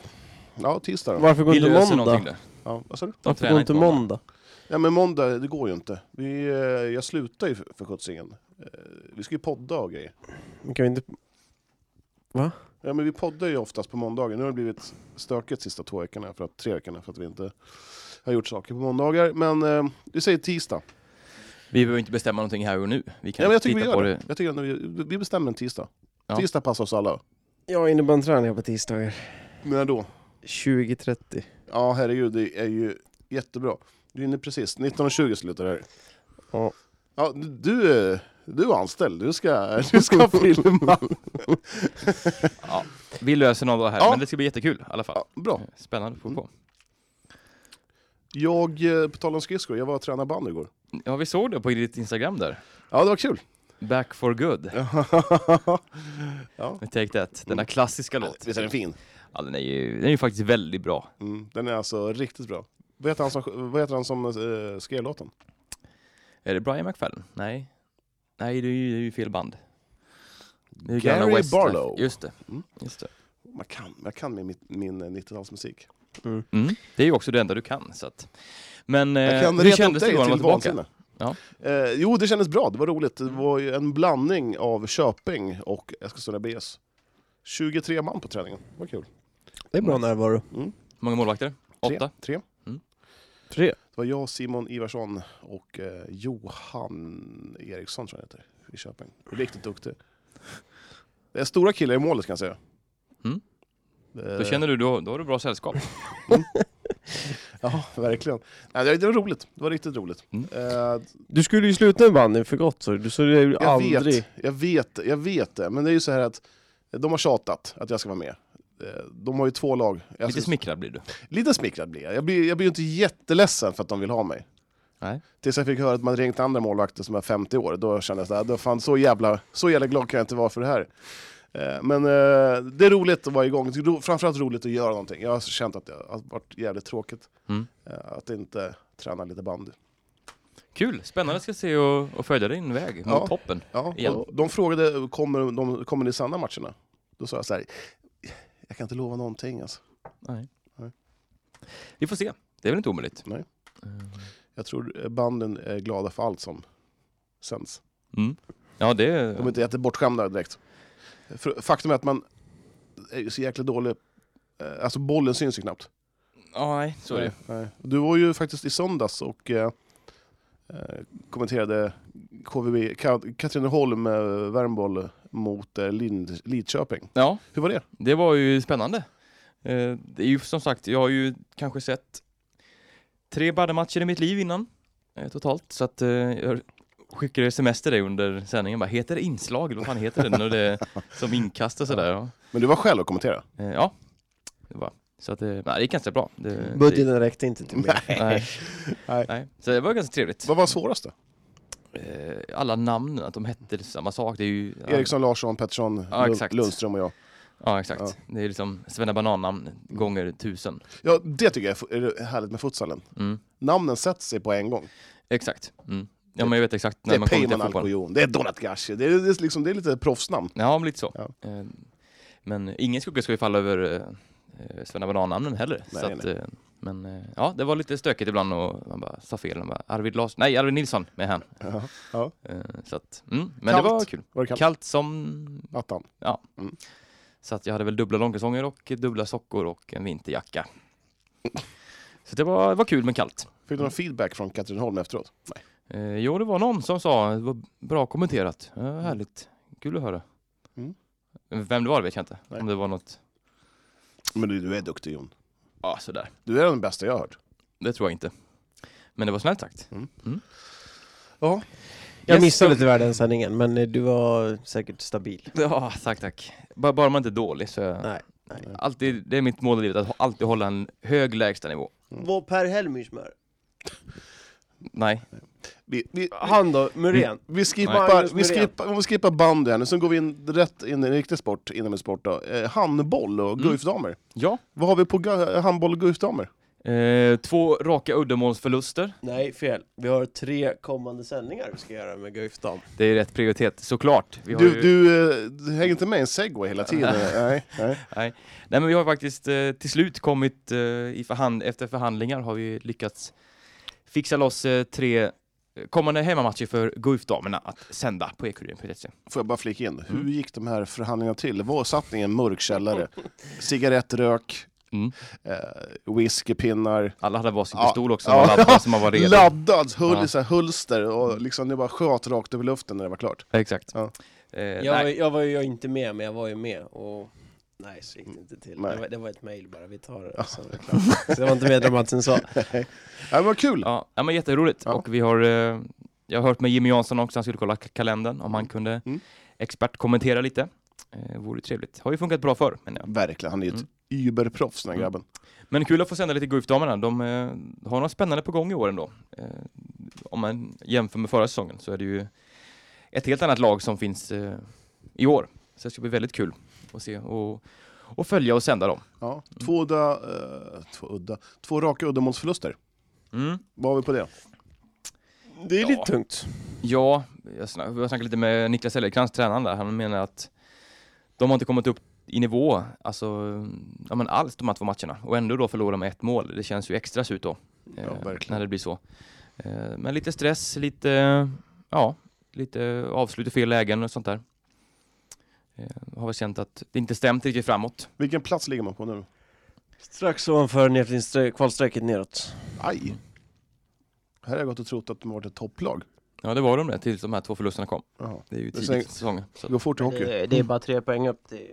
[SPEAKER 2] ja, tisdag då.
[SPEAKER 3] Varför går
[SPEAKER 1] Vi
[SPEAKER 3] inte
[SPEAKER 1] löser
[SPEAKER 3] måndag?
[SPEAKER 1] någonting där.
[SPEAKER 2] Ja, vad sa du?
[SPEAKER 1] De
[SPEAKER 3] Varför
[SPEAKER 1] tränar
[SPEAKER 3] går inte
[SPEAKER 1] inte måndag.
[SPEAKER 3] måndag?
[SPEAKER 2] Ja, men måndag, det går ju inte. Vi, eh, jag slutar ju för, för sjuttsingen. Eh, vi ska ju podda och grejer.
[SPEAKER 3] Men Kan vi inte...
[SPEAKER 2] Ja, men vi poddar ju oftast på måndagar. Nu har det blivit stökigt sista två veckorna, för att, tre veckorna, för att vi inte har gjort saker på måndagar. Men eh, vi säger tisdag.
[SPEAKER 1] Vi behöver inte bestämma någonting här och nu. Vi kan
[SPEAKER 2] Ja, men jag tycker
[SPEAKER 1] titta
[SPEAKER 2] vi
[SPEAKER 1] på
[SPEAKER 2] gör
[SPEAKER 1] det.
[SPEAKER 2] det. Jag tycker ändå vi, vi bestämmer en tisdag.
[SPEAKER 1] Ja.
[SPEAKER 2] Tisdag passar oss alla.
[SPEAKER 3] Jag har innebandyträning på tisdagar.
[SPEAKER 2] När då?
[SPEAKER 3] 20.30.
[SPEAKER 2] Ja, herregud, det är ju jättebra. Du är inne precis. 19.20 slutar det här.
[SPEAKER 3] Ja.
[SPEAKER 2] Ja, du, eh, du är anställd. Du ska, du ska filma.
[SPEAKER 1] Ja, vi löser någon dag här,
[SPEAKER 2] Ja.
[SPEAKER 1] men det ska bli jättekul i alla fall.
[SPEAKER 2] Ja, bra.
[SPEAKER 1] Spännande att få på.
[SPEAKER 2] Jag, eh, på tal om skridskor, jag var och tränade band igår.
[SPEAKER 1] Ja, vi såg det på ditt Instagram där.
[SPEAKER 2] Ja, det var kul.
[SPEAKER 1] Back for good.
[SPEAKER 2] ja.
[SPEAKER 1] med Take that. Denna klassiska låt.
[SPEAKER 2] Visst är den fin?
[SPEAKER 1] Ja, den är ju, den är ju faktiskt väldigt bra.
[SPEAKER 2] Mm, den är alltså riktigt bra. Vad heter han som, vad heter han som eh, skrev låten?
[SPEAKER 1] Är det Brian McFadden? Nej. Nej, det är ju, det är ju fel band. Det är ju
[SPEAKER 2] Gary
[SPEAKER 1] gamla Westlife.
[SPEAKER 2] Barlow.
[SPEAKER 1] Just det.
[SPEAKER 2] Mm.
[SPEAKER 1] Just det.
[SPEAKER 2] Man kan, jag kan med min, min eh, 90-talsmusik.
[SPEAKER 1] Mm. Det är ju också det enda du kan. Så att. Men eh,
[SPEAKER 2] Jag kan
[SPEAKER 1] hur
[SPEAKER 2] reta upp
[SPEAKER 1] kändes det
[SPEAKER 2] dig
[SPEAKER 1] då när du
[SPEAKER 2] till
[SPEAKER 1] var tillbaka?
[SPEAKER 2] vansinne.
[SPEAKER 1] Ja. Mm.
[SPEAKER 2] Eh, jo, det kändes bra. Det var roligt. Det var ju en blandning av Köping och Eskilstuna BS. 23 man på träningen. Det var kul.
[SPEAKER 3] Det är bra närvaro.
[SPEAKER 1] Hur många målvakter?
[SPEAKER 2] Tre.
[SPEAKER 1] Åtta? Mm.
[SPEAKER 2] Tre.
[SPEAKER 3] Tre.
[SPEAKER 2] Det var jag, Simon Ivarsson och eh, Johan Eriksson tror jag han heter. i Köping. Riktigt duktig. Det är stora killar i målet kan jag säga. Eh,
[SPEAKER 1] Mm.
[SPEAKER 2] Det-
[SPEAKER 1] Då känner du, då, då har du bra sällskap.
[SPEAKER 2] Alltså, Ja, verkligen. Nej, det det var roligt. Det var riktigt roligt.
[SPEAKER 1] Mm.
[SPEAKER 2] Eh,
[SPEAKER 3] Du skulle ju sluta med banden för gott så du sa ju
[SPEAKER 2] jag,
[SPEAKER 3] aldrig...
[SPEAKER 2] vet, jag, vet, jag vet det, men det är ju så här att de har tjatat att jag ska vara med. Eh, De har ju två lag. Jag
[SPEAKER 1] Lite
[SPEAKER 2] ska-
[SPEAKER 1] smickrad blir du.
[SPEAKER 2] Lite smickrad blir jag. Jag blir, jag blir ju inte jätteledsen för att de vill ha mig.
[SPEAKER 1] Nej.
[SPEAKER 2] Tills jag fick höra att man ringt andra målvakter som är 50 år. Då kände jag så här, då fan, så, jävla, så jävla glad kan jag inte vara för det här. Eh, Men eh, det är roligt att vara igång. Det är ro- Framförallt roligt att göra någonting. Jag har känt att det har varit jävligt tråkigt.
[SPEAKER 1] Mm.
[SPEAKER 2] Eh, Att inte träna lite bandy.
[SPEAKER 1] Kul, spännande ska se och, och följa din väg mot
[SPEAKER 2] Ja.
[SPEAKER 1] toppen.
[SPEAKER 2] Ja,
[SPEAKER 1] Igen.
[SPEAKER 2] och de frågade kommer, de, kommer ni sanna matcherna. Då sa jag så här, jag kan inte lova någonting. Alltså.
[SPEAKER 1] Nej.
[SPEAKER 2] Nej.
[SPEAKER 1] Vi får se, det är väl inte omöjligt. Eh,
[SPEAKER 2] Nej. Jag tror eh, banden är glada för allt som sänds.
[SPEAKER 1] Mm. Ja, det
[SPEAKER 2] De är
[SPEAKER 1] är...
[SPEAKER 2] inte jättebortskämda direkt. För- Faktum är att man är ju så jäkla dålig, eh, alltså bollen syns ju knappt.
[SPEAKER 1] Ja, nej, så är det.
[SPEAKER 2] Nej. Du var ju faktiskt i söndags och eh, eh, kommenterade KVB, Ka- Katrineholm, eh, Värmboll mot eh, Lind, Lidköping.
[SPEAKER 1] Ja,
[SPEAKER 2] Hur var det?
[SPEAKER 1] det var ju spännande. Eh, Det är ju som sagt, jag har ju kanske sett tre badmatcher i mitt liv innan eh, totalt, så att eh, jag skickade sms till dig under sändningen bara, heter det inslag? Eller vad fan heter det när det är som inkast och sådär? Ja.
[SPEAKER 2] Men du var själv och kommenterade?
[SPEAKER 1] Eh, ja, det var. Så att, eh, nej, det gick ganska bra. Det,
[SPEAKER 3] Budgeten räckte inte till mer.
[SPEAKER 1] det, nej.
[SPEAKER 2] Nej.
[SPEAKER 1] nej. Så det var ganska trevligt.
[SPEAKER 2] Vad var svårast då?
[SPEAKER 1] Eh, alla namnen, att de hette liksom samma sak. Det är ju, ja,
[SPEAKER 2] Eriksson, Larsson, Pettersson,
[SPEAKER 1] Ja,
[SPEAKER 2] Lund-
[SPEAKER 1] exakt.
[SPEAKER 2] Lundström och jag.
[SPEAKER 1] Ja, exakt. Det är liksom Svenna
[SPEAKER 2] Mm.
[SPEAKER 1] Banan-namn gånger tusen.
[SPEAKER 2] Ja, det tycker jag är fu- är härligt med futsalen.
[SPEAKER 1] Mm.
[SPEAKER 2] Namnen sätter sig på en gång.
[SPEAKER 1] Exakt. Mm. Ja, men jag vet exakt
[SPEAKER 2] Det
[SPEAKER 1] när
[SPEAKER 2] är
[SPEAKER 1] man kommer till
[SPEAKER 2] Peyman
[SPEAKER 1] fotboll.
[SPEAKER 2] Alcoyon, det är Donat Gashi, det är, det, är liksom, det är lite proffsnamn.
[SPEAKER 1] Ja, men lite så.
[SPEAKER 2] Ja.
[SPEAKER 1] Eh, men ingen skugga ska ju falla över eh, Svenna Banan-namnen heller.
[SPEAKER 2] Nej,
[SPEAKER 1] så att, eh, men eh, ja, det var lite stökigt ibland och man bara sa fel. Man bara, Arvid Larsson, nej Arvid Nilsson med han.
[SPEAKER 2] Ja. Ja.
[SPEAKER 1] Eh, så att, mm, men
[SPEAKER 2] Kallt.
[SPEAKER 1] det var kul.
[SPEAKER 2] Var det kallt?
[SPEAKER 1] Kallt som
[SPEAKER 2] Attan.
[SPEAKER 1] Så att jag hade väl dubbla långkalsonger och dubbla sockor och en vinterjacka. Så det var, det var kul men kallt.
[SPEAKER 2] Fick du någon feedback från Katrineholm efteråt? Nej.
[SPEAKER 1] Eh, jo, det var någon som sa det var bra kommenterat. Ja, härligt. Kul att höra.
[SPEAKER 2] Mm.
[SPEAKER 1] Vem det var vet jag inte.
[SPEAKER 2] Nej.
[SPEAKER 1] Om det var något,
[SPEAKER 2] Men du, du är duktig Jon.
[SPEAKER 1] ja sådär.
[SPEAKER 2] Du är den bästa jag har hört.
[SPEAKER 1] Det tror jag inte. Men det var snällt sagt.
[SPEAKER 2] Ja.
[SPEAKER 3] Jag
[SPEAKER 1] Yes,
[SPEAKER 3] missade
[SPEAKER 1] de-
[SPEAKER 3] tyvärr den sändningen men eh, du var säkert stabil.
[SPEAKER 1] Ja, tack tack. Bara, bara man inte är dålig så... är-
[SPEAKER 3] Nej.
[SPEAKER 1] Alltid, det är mitt mål i livet att ha- alltid hålla en hög lägstanivå.
[SPEAKER 3] Var Per Helmersmör?
[SPEAKER 1] Nej.
[SPEAKER 2] Vi, vi,
[SPEAKER 1] Ah.
[SPEAKER 3] Han då, Muren?
[SPEAKER 2] vi
[SPEAKER 3] Magnus
[SPEAKER 2] skippar, vi
[SPEAKER 3] Norén.
[SPEAKER 2] skippar, om vi skippar bandy här nu, sen går vi in rätt in i en riktig sport, inomhussport då. Eh, handboll
[SPEAKER 1] Mm.
[SPEAKER 2] och Guifdamer.
[SPEAKER 1] Ja.
[SPEAKER 2] Vad har vi på gu- handboll och Guifdamer?
[SPEAKER 1] Eh, två raka uddamålsförluster.
[SPEAKER 3] Nej, fel. Vi har tre kommande sändningar vi ska göra med Guif Dam.
[SPEAKER 1] Det är rätt prioritet, såklart. Vi har
[SPEAKER 2] Du,
[SPEAKER 1] ju-
[SPEAKER 2] du, eh, du hänger inte med i en segway hela tiden? eh, nej, nej.
[SPEAKER 1] Nej. Nej, men vi har faktiskt eh, till slut kommit eh, i förhand efter förhandlingar har vi lyckats fixa loss eh, tre eh, kommande hemmamatcher för Guif-damerna att sända på ekurien.se.
[SPEAKER 2] Får jag bara flika in,
[SPEAKER 1] Mm.
[SPEAKER 2] hur gick de här förhandlingarna till? Var satt ni i en mörk källare? Cigarettrök,
[SPEAKER 1] Mm.
[SPEAKER 2] eh, whiskypinnar,
[SPEAKER 1] Alla hade varsin
[SPEAKER 2] Ja.
[SPEAKER 1] pistol också,
[SPEAKER 2] Ja.
[SPEAKER 1] man laddade så man var redo.
[SPEAKER 2] laddad, höll
[SPEAKER 1] Ja. Mm.
[SPEAKER 2] i så här hulster och liksom ni bara sköt rakt över luften när det var klart.
[SPEAKER 1] Exakt.
[SPEAKER 2] Ja.
[SPEAKER 1] Eh,
[SPEAKER 3] Jag var,
[SPEAKER 1] nej.
[SPEAKER 3] jag var ju jag inte med, men jag var ju med och... Nej, så gick det inte till.
[SPEAKER 2] Nej.
[SPEAKER 3] Det var, det var ett mejl bara, vi tar det. Så, det är klart. så det var inte mer dramatiskt än så.
[SPEAKER 2] Ja, det var kul!
[SPEAKER 1] Ja, ja, men jätteroligt.
[SPEAKER 2] Ja.
[SPEAKER 1] Och vi har, eh, jag har hört med Jimmy Jansson också, han skulle kolla k- kalendern om han kunde
[SPEAKER 2] Mm.
[SPEAKER 1] expertkommentera lite. Eh, vore trevligt. Har ju funkat bra förr, men ja.
[SPEAKER 2] Verkligen, han är ju ett
[SPEAKER 1] Mm.
[SPEAKER 2] überproffs den här grabben.
[SPEAKER 1] Men kul att få sända lite Guif-damerna. De eh, har något spännande på gång i år ändå. Eh, om man jämför med förra säsongen så är det ju ett helt annat lag som finns eh, i år. Så det ska bli väldigt kul att se och, och följa och sända dem.
[SPEAKER 2] Ja. Två, udda, eh, två, udda, två raka uddamålsförluster,
[SPEAKER 1] Mm.
[SPEAKER 2] vad har vi på det?
[SPEAKER 3] Det är
[SPEAKER 1] Ja.
[SPEAKER 3] lite tungt.
[SPEAKER 1] Ja, jag, snack, jag snackade lite med Niklas Ellercrantz, tränaren där. Han menar att de har inte kommit upp i nivå, alltså, ja, men alls de här två matcherna. Och ändå då förlorar med ett mål. Det känns ju extra surt då. eh,
[SPEAKER 2] verkligen.
[SPEAKER 1] när det blir så. Eh, men lite stress, lite, ja, lite avslut i fel lägen och sånt där. Eh, har väl känt att det inte stämt riktigt framåt.
[SPEAKER 2] Vilken plats ligger man på nu?
[SPEAKER 3] Strax ovanför
[SPEAKER 1] Mm.
[SPEAKER 3] nedflyttningsstre- kvalstrecket neråt.
[SPEAKER 2] Aj! Här har jag gått och trott att de har varit ett topplag.
[SPEAKER 1] Ja, det var de det, tills de här två förlusterna kom.
[SPEAKER 2] Jaha.
[SPEAKER 1] Det är ju
[SPEAKER 2] Men
[SPEAKER 1] tidigt i
[SPEAKER 2] sen-
[SPEAKER 1] säsongen. Så.
[SPEAKER 2] Det går fort i hockey.
[SPEAKER 3] Det, det är bara tre poäng upp till...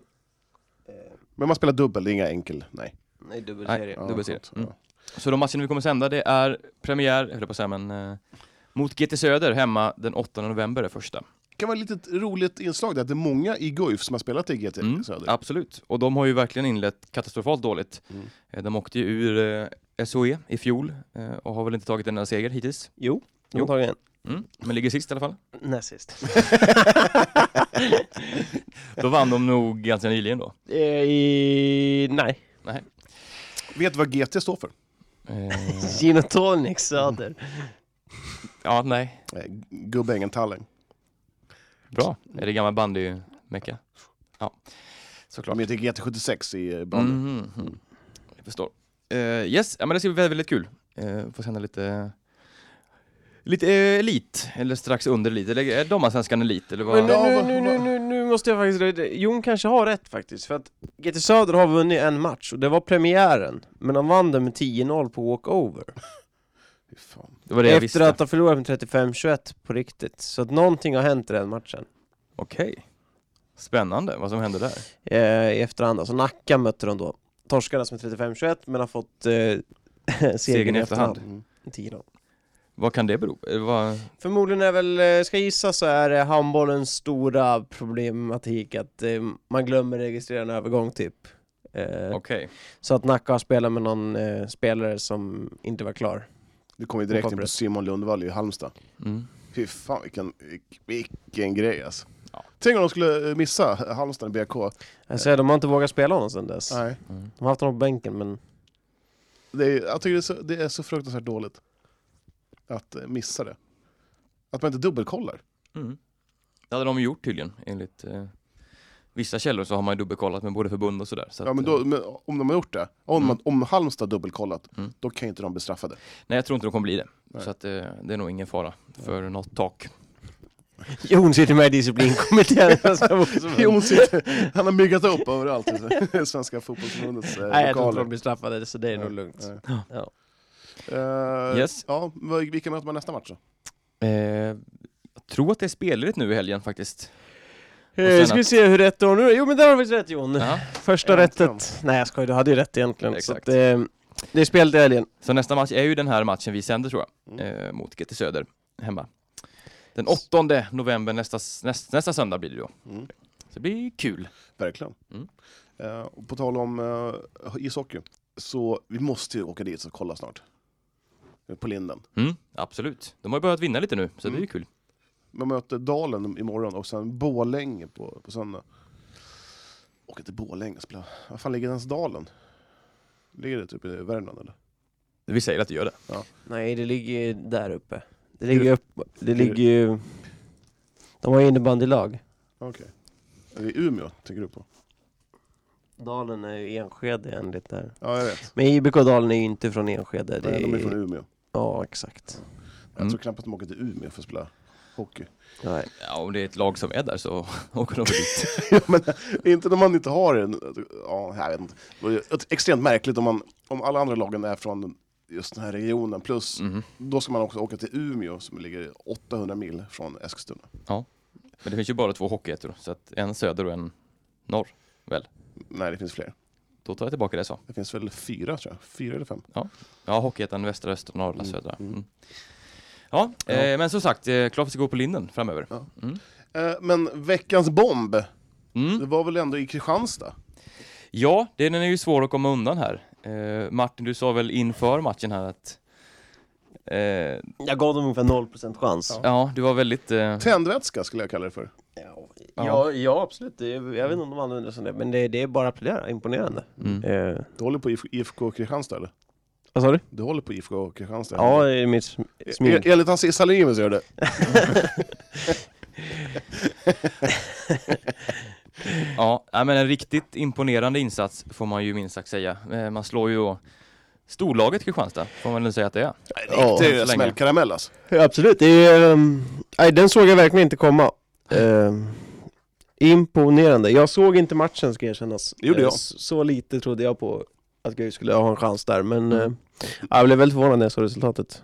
[SPEAKER 2] Men man spelar dubbel, det är inga enkel. Nej.
[SPEAKER 3] Nej,
[SPEAKER 1] Nej,
[SPEAKER 3] dubbelserie.
[SPEAKER 2] Ja,
[SPEAKER 1] dubbelserie.
[SPEAKER 2] skönt.
[SPEAKER 1] Mm.
[SPEAKER 2] Ja.
[SPEAKER 1] Så de matcherna vi kommer sända, det är premiär, jag höll på att säga, men eh, mot GT Söder hemma den 8 november är första.
[SPEAKER 2] Det kan vara ett litet roligt inslag där att det är många i Guif som har spelat i GT
[SPEAKER 1] Mm,
[SPEAKER 2] Söder.
[SPEAKER 1] absolut, och de har ju verkligen inlett katastrofalt dåligt.
[SPEAKER 2] Mm.
[SPEAKER 1] Eh, De åkte ju ur eh, SOE i fjol eh, och har väl inte tagit en enda seger hittills.
[SPEAKER 3] Jo, de
[SPEAKER 1] Jo.
[SPEAKER 3] har tagit en.
[SPEAKER 1] Mm. Men ligger sist i alla fall.
[SPEAKER 3] Näst sist.
[SPEAKER 1] Då vann de nog ganska nyligen då.
[SPEAKER 3] Eh, I... Nej.
[SPEAKER 2] Vet du vad GT står för?
[SPEAKER 1] Eh,
[SPEAKER 3] Gin och tonic söder.
[SPEAKER 1] ja, nej.
[SPEAKER 2] Eh, Gubbängen Tallinn.
[SPEAKER 1] Bra. Är det gammal bandy-mecka? Ja, såklart.
[SPEAKER 2] De heter GT76 i eh, bandy.
[SPEAKER 1] Mhm, mhm. Jag förstår. Eh, yes, ja, men det ska bli väldigt, väldigt kul. Uh, får sända lite... Lite eh, elit, eller strax under elit. Eller är damallsvenskan elit? Eller vad?
[SPEAKER 3] Men
[SPEAKER 2] Ja,
[SPEAKER 3] nu,
[SPEAKER 2] vad-
[SPEAKER 3] nu, nu, nu, nu måste jag faktiskt reda- Jon kanske har rätt faktiskt, för att GT Söder har vunnit en match och det var premiären, men de vann den med 10-0 på walkover.
[SPEAKER 2] Fy fan.
[SPEAKER 1] det var det jag
[SPEAKER 3] Efter
[SPEAKER 1] visste.
[SPEAKER 3] att ha förlorat med 35-21 på riktigt, så att någonting har hänt i den matchen.
[SPEAKER 1] Okej. Spännande vad som hände där.
[SPEAKER 3] eh, i efterhand. Alltså Nacka mötte de då. Torskarnas med 35-21 men har fått eh, segern i efterhand.
[SPEAKER 2] Mm.
[SPEAKER 3] I 10-0.
[SPEAKER 1] Vad kan det bero på? Eh, Vad...
[SPEAKER 3] Förmodligen är väl, eh, ska jag gissa så är det handbollens stora problematik att eh, man glömmer registrera en övergång typ. Eh,
[SPEAKER 1] Okej.
[SPEAKER 3] Så att Nacka har spelat med någon eh, spelare som inte var klar.
[SPEAKER 2] Vi kommer ju direkt in på
[SPEAKER 3] Pappret.
[SPEAKER 2] Simon Lundvall i Halmstad.
[SPEAKER 1] Mm.
[SPEAKER 2] Fy fan vilken, vilken grej alltså.
[SPEAKER 1] Ja.
[SPEAKER 2] Tänk om de skulle eh, missa Halmstad i BK.
[SPEAKER 3] Alltså, de har inte vågat spela honom sedan dess.
[SPEAKER 2] Nej.
[SPEAKER 1] Mm.
[SPEAKER 3] De har haft honom på bänken men
[SPEAKER 2] Det är, jag tycker det är, så, det är så fruktansvärt dåligt att eh, missa det. Att man inte dubbelkollar.
[SPEAKER 1] Mm. Det hade de gjort tydligen, enligt eh, vissa källor så har man ju dubbelkollat med både förbund och sådär. Så
[SPEAKER 2] Ja,
[SPEAKER 1] att,
[SPEAKER 2] men
[SPEAKER 1] eh,
[SPEAKER 2] då, men om de har gjort det, om,
[SPEAKER 1] Mm.
[SPEAKER 2] man, om Halmstad dubbelkollat,
[SPEAKER 1] Mm.
[SPEAKER 2] då kan ju inte de bli straffade.
[SPEAKER 1] Nej, jag tror inte de kommer bli det.
[SPEAKER 2] Nej.
[SPEAKER 1] Så att, eh, det är nog ingen fara för något tak.
[SPEAKER 3] Jon sitter med i disciplinkommittén.
[SPEAKER 2] Jon sitter, han har myggat upp överallt i Svenska fotbollsförbundets eh,
[SPEAKER 3] Nej jag tror inte
[SPEAKER 2] lokaler.
[SPEAKER 3] de blir straffade så det är nog lugnt.
[SPEAKER 2] Nej.
[SPEAKER 3] Ja.
[SPEAKER 2] Eh,
[SPEAKER 1] Yes.
[SPEAKER 2] ja, vad- vilka möter man nästa match då?
[SPEAKER 1] Eh, jag tror att det är spelrigt nu i helgen faktiskt.
[SPEAKER 3] Eh,
[SPEAKER 1] sen
[SPEAKER 3] ska vi
[SPEAKER 1] att-
[SPEAKER 3] se hur rätt du har nu. Jo men där har vi faktiskt rätt Jon.
[SPEAKER 1] Ja.
[SPEAKER 3] Första
[SPEAKER 2] Äntligen.
[SPEAKER 3] rättet. Nej jag skojar, du hade ju rätt egentligen.
[SPEAKER 1] Exakt.
[SPEAKER 3] Så att, eh, det är spelet i helgen.
[SPEAKER 1] Så nästa match är ju den här matchen vi sänder tror jag,
[SPEAKER 2] Mm.
[SPEAKER 1] eh, mot GT Söder hemma. Den 8 november, nästa, s- näst, nästa söndag blir det då.
[SPEAKER 2] Mm.
[SPEAKER 1] Så det blir kul.
[SPEAKER 2] Verkligen.
[SPEAKER 1] Mm.
[SPEAKER 2] Eh, och på tal om eh, ishockey, så vi måste ju åka dit och kolla snart. Eh, På Linden.
[SPEAKER 1] Mm, absolut. De har ju börjat vinna lite nu, så
[SPEAKER 2] Mm.
[SPEAKER 1] det är ju kul.
[SPEAKER 2] Man möter Dalen imorgon och sen Borlänge på, på söndag. Åka till Borlänge och spela. Var fan ligger ens Dalen? Ligger det typ i Värmland eller?
[SPEAKER 1] Vi säger att det gör det.
[SPEAKER 3] Nej det ligger ju där uppe. Det
[SPEAKER 2] ligger
[SPEAKER 3] ligger upp, det ligger ju... De har ju innebandylag.
[SPEAKER 2] Okej. Är det Umeå tänker du på?
[SPEAKER 3] Dalen är ju Enskede enligt där.
[SPEAKER 2] Ja, jag vet.
[SPEAKER 3] Men IBK Dalen är ju inte från Enskede. Det
[SPEAKER 2] Nej, de är från
[SPEAKER 3] är...
[SPEAKER 2] Umeå.
[SPEAKER 3] Ja exakt.
[SPEAKER 2] Jag tror knappt att de åker till Umeå för att spela hockey.
[SPEAKER 3] Nej.
[SPEAKER 1] Ja, om det är ett lag som är där så åker de väl dit.
[SPEAKER 2] Ja, men inte när man inte har en... Ja, jag vet inte. Det är extremt märkligt om, man, om alla andra lagen är från just den här regionen. Plus,
[SPEAKER 1] Mhm.
[SPEAKER 2] då ska man också åka till Umeå som ligger 800 mil från Eskilstuna.
[SPEAKER 1] Men det finns ju bara två hockeyettor, så att en söder och en norr.
[SPEAKER 2] Nej, det finns fler.
[SPEAKER 1] Då tar jag tillbaka det jag sa.
[SPEAKER 2] Det finns väl fyra, tror jag. Fyra eller fem.
[SPEAKER 1] Ja, Hockeyettan, västra, östra, norra,
[SPEAKER 2] Mm,
[SPEAKER 1] södra.
[SPEAKER 2] mm.
[SPEAKER 1] Mm. Ja,
[SPEAKER 2] Ja.
[SPEAKER 1] Eh, men som sagt, eh, klart vi ska gå på linden framöver.
[SPEAKER 2] Ja.
[SPEAKER 1] Mm.
[SPEAKER 2] Eh, Men veckans bomb, det
[SPEAKER 1] Mm.
[SPEAKER 2] var väl ändå i Kristianstad?
[SPEAKER 1] Ja, den är ju svår att komma undan här. Eh, Martin, du sa väl inför matchen här att eh, ja.
[SPEAKER 3] Jag gav dem ungefär 0% chans.
[SPEAKER 1] du var väldigt... Eh,
[SPEAKER 2] Tändvätska skulle jag kalla det för.
[SPEAKER 3] Ja,
[SPEAKER 1] Ja.
[SPEAKER 3] ja, absolut. Det är- Jag vet inte om de använder sig av det, men det, det är bara att applådera. Imponerande.
[SPEAKER 1] mm.
[SPEAKER 3] Eh,
[SPEAKER 2] Du håller på IFK IFK Kristianstad eller?
[SPEAKER 3] vad sa du?
[SPEAKER 2] Du håller på IFK Kristianstad?
[SPEAKER 3] Ja, det är mitt sm- smyg.
[SPEAKER 2] E- Enligt Aziz Salimi så gör det.
[SPEAKER 1] Ja, nej, men en riktigt imponerande insats får man ju minst sagt säga. Eh, man slår ju då storlaget Kristianstad, får man väl säga att det är.
[SPEAKER 2] Ja, det
[SPEAKER 1] än så
[SPEAKER 2] är
[SPEAKER 1] länge.
[SPEAKER 2] smällkaramell alltså.
[SPEAKER 3] Ja, absolut, det är, ehm, nej, den såg jag verkligen inte komma. Ehm, imponerande. Jag såg inte matchen ska erkännas.
[SPEAKER 2] Det gjorde
[SPEAKER 3] Eh,
[SPEAKER 2] jag.
[SPEAKER 3] s- Så lite trodde jag
[SPEAKER 2] Mm.
[SPEAKER 3] på att Guif skulle ha en chans där, men eh, jag blev väldigt förvånad när jag såg resultatet.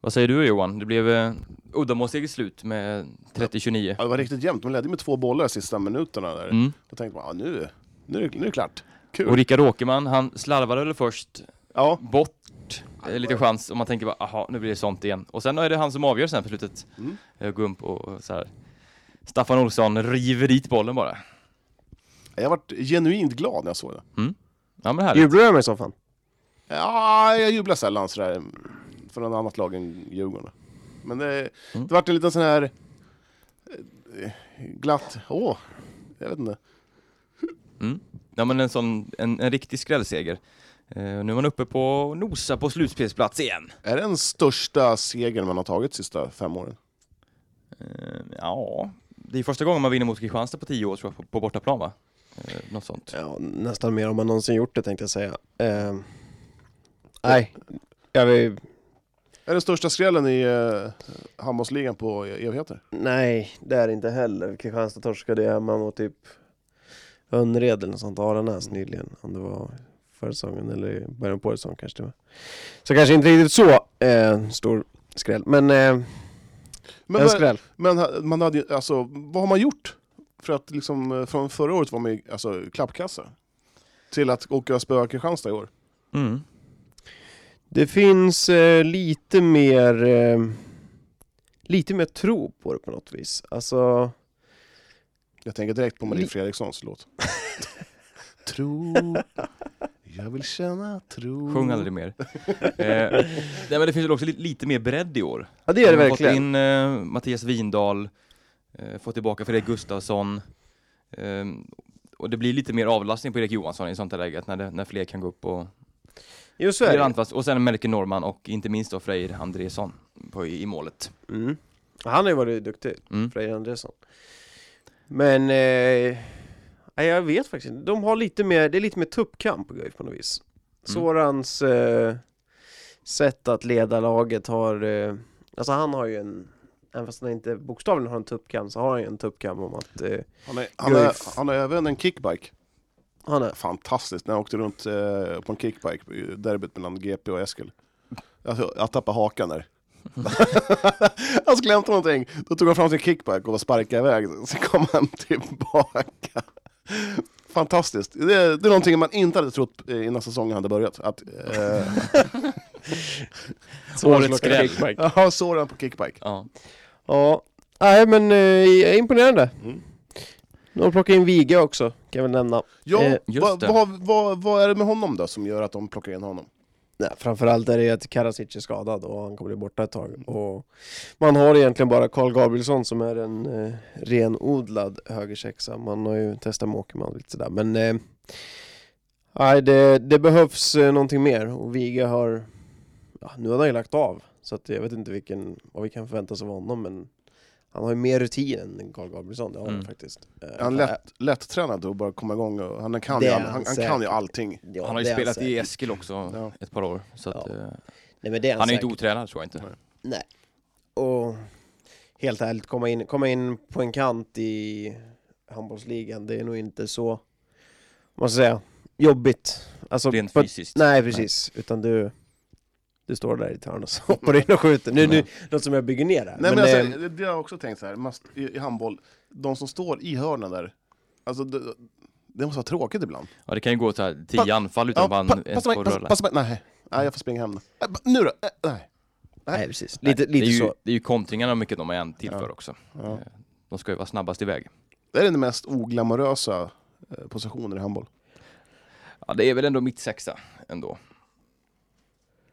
[SPEAKER 1] Vad säger du Johan? Det blev eh, uddamålsseger slut med 30-29.
[SPEAKER 2] Ja, det var riktigt jämnt. De ledde med två bollar de sista minuterna. Där.
[SPEAKER 1] Mm.
[SPEAKER 2] Då tänkte man, ah, nu, nu, är det- nu är det klart.
[SPEAKER 1] Och Rickard Åkerman, han slarvade väl först
[SPEAKER 2] Ja,
[SPEAKER 1] bort eh, lite chans och man tänker bara aha, nu blir det sånt igen. Och sen är det han som avgör sen för slutet.
[SPEAKER 2] Mm.
[SPEAKER 1] Eh, Gump och och så här. Staffan Olsson river dit bollen bara.
[SPEAKER 2] jag vart genuint glad när jag såg det.
[SPEAKER 1] Ja men härligt.
[SPEAKER 3] Jublade du med soffan?
[SPEAKER 2] Ja, jag jublar sällan sådär för något annat lag än Djurgården. Men det, det vart en liten sån här eh, glatt, åh, jag vet inte.
[SPEAKER 1] Ja men en sån, en, en riktig skrällseger. Eh, nu är man uppe på och nosar på slutspelsplats igen.
[SPEAKER 2] Är det den största segern man har tagit de sista fem åren?
[SPEAKER 1] Eh, ja, det är första gången man vinner mot Kristianstad på 10 år tror jag, på, på bortaplan va? Eh, något sånt.
[SPEAKER 3] Ja, nästan mer om man någonsin gjort det tänkte jag säga. Eh, nej, jag vill,
[SPEAKER 2] Är den största skrällen i eh, handbollsligan på evigheter?
[SPEAKER 3] nej, det är det inte heller. Kristianstad torskade ju hemma mot typ Önnered eller något sånt, Aranäs
[SPEAKER 1] Mm.
[SPEAKER 3] nyligen. Om det var förra säsongen eller i början på årets säsong kanske det var. Så kanske inte riktigt så eh, stor skräll, men eh,
[SPEAKER 2] Men,
[SPEAKER 3] en
[SPEAKER 2] men,
[SPEAKER 3] skräll.
[SPEAKER 2] men ha- man hade, ju- alltså, vad har man gjort? För att liksom, eh, från förra året var man ju alltså, klappkassa. Till att åka och spöa Kristianstad i år.
[SPEAKER 1] Mm.
[SPEAKER 3] Det finns eh, lite mer eh, lite mer tro på det på något vis. Alltså,
[SPEAKER 2] Jag tänker direkt på Marie
[SPEAKER 3] Li-
[SPEAKER 2] Fredrikssons låt. tro, jag vill känna tro.
[SPEAKER 1] Sjung aldrig mer. eh, nej, men det finns väl också li- lite mer bredd i år.
[SPEAKER 3] ja det är det
[SPEAKER 1] Man har
[SPEAKER 3] verkligen.
[SPEAKER 1] Fått in eh, Mattias Windahl, eh, fått tillbaka Fredrik Gustafsson. Eh, och det blir lite mer avlastning på Erik Johansson i sånt här läget när, det, när fler kan gå upp och
[SPEAKER 3] Jo, så är
[SPEAKER 1] blir
[SPEAKER 3] det.
[SPEAKER 1] anfast. Och sen Melker Norman och inte minst då Freyr Andreasson på, i, i målet.
[SPEAKER 3] Mm. Han har ju varit duktig,
[SPEAKER 1] Mm.
[SPEAKER 3] Freja Andreasson. Men, eh, nej, jag vet faktiskt inte. De har lite mer, det är lite mer tuppkamp på Guif på något vis.
[SPEAKER 1] Mm.
[SPEAKER 3] Sorans eh, sätt att leda laget har, eh, alltså han har ju en, även fast han inte bokstavligen har en tuppkamp så har han ju en tuppkamp om att eh,
[SPEAKER 2] Han, är, han, är,
[SPEAKER 3] Guif.
[SPEAKER 2] han har även en kickbike.
[SPEAKER 3] han är,
[SPEAKER 2] Fantastiskt, när jag åkte runt eh, på en kickbike, i derbyt mellan GP och Eskil. Alltså, jag tappade hakan där. han skulle hämta någonting, då tog han fram sin kickbike och sparkade iväg, sen kom han tillbaka. Fantastiskt, det, är- det är någonting man inte hade trott eh, innan säsongen hade börjat. Att, eh,
[SPEAKER 1] Årets skräll.
[SPEAKER 2] jag såg den på kickbike.
[SPEAKER 1] Ja.
[SPEAKER 3] ja, nej men eh, imponerande.
[SPEAKER 2] Mm.
[SPEAKER 3] De plockar in Viga också, kan jag väl nämna.
[SPEAKER 2] Ja,
[SPEAKER 3] Eh,
[SPEAKER 1] just
[SPEAKER 2] vad
[SPEAKER 1] det.
[SPEAKER 2] vad vad- vad är det med honom då som gör att de plockar in honom?
[SPEAKER 3] Nej, framförallt är det att Karasic är skadad och han kommer bli borta ett tag. Och man har egentligen bara Carl Gabrielsson som är en eh, renodlad högersexa. Man har ju testat med Åkerman lite sådär. Men eh, nej, det, det behövs eh, någonting mer och Viga har, ja, nu har han ju lagt av. Så att jag vet inte vilken, vad vi kan förvänta oss av honom men han har ju mer rutin än Carl Gabrielsson, det har han
[SPEAKER 1] Mm.
[SPEAKER 3] faktiskt. Eh,
[SPEAKER 2] Är han lätt, lättränad och bara komma igång? Och, han, kan
[SPEAKER 3] Det
[SPEAKER 2] ju,
[SPEAKER 3] är
[SPEAKER 2] all-
[SPEAKER 3] han
[SPEAKER 2] han, han kan
[SPEAKER 3] säkert.
[SPEAKER 2] ju allting.
[SPEAKER 3] Ja,
[SPEAKER 1] Han har
[SPEAKER 3] det
[SPEAKER 1] ju
[SPEAKER 3] är
[SPEAKER 1] spelat i
[SPEAKER 3] säkert.
[SPEAKER 1] Eskil också
[SPEAKER 2] Ja.
[SPEAKER 1] ett par år. Så att,
[SPEAKER 3] Ja.
[SPEAKER 1] eh,
[SPEAKER 3] Nej, men det är han,
[SPEAKER 1] han är ju inte
[SPEAKER 3] säkert.
[SPEAKER 1] otränad tror jag inte.
[SPEAKER 3] Och helt ärligt, komma in, komma in på en kant i handbollsligan, det är nog inte så, måste säga, jobbigt. Alltså,
[SPEAKER 1] Rent
[SPEAKER 3] på-
[SPEAKER 1] fysiskt.
[SPEAKER 3] Nej, precis. Utan du, du står där i ett hörn och så hoppar du in och skjuter. Nu, nu, något som jag bygger ner här.
[SPEAKER 2] Nej, men
[SPEAKER 3] eh,
[SPEAKER 2] alltså, det- det har jag också tänkt så här, man, i, i handboll, de som står i hörnen där, alltså det, det måste vara tråkigt ibland.
[SPEAKER 1] Ja, det kan ju gå så här tio
[SPEAKER 2] Pa-
[SPEAKER 1] anfall utan att
[SPEAKER 2] pa-
[SPEAKER 1] man ens
[SPEAKER 2] passa mig,
[SPEAKER 1] får
[SPEAKER 2] passa,
[SPEAKER 1] röra.
[SPEAKER 2] passa mig, nej, nej, jag får springa hem. Nej, ba- nu då, Eh, nej.
[SPEAKER 3] nej, precis. Lite,
[SPEAKER 1] det, är
[SPEAKER 3] lite
[SPEAKER 1] ju,
[SPEAKER 3] så.
[SPEAKER 1] det är ju kontringarna mycket de än tillför också.
[SPEAKER 2] Ja.
[SPEAKER 1] Eh, De ska ju vara snabbast iväg.
[SPEAKER 2] Det är den mest oglamorösa eh, positionen i handboll.
[SPEAKER 1] Ja, det är väl ändå mitt sexa ändå.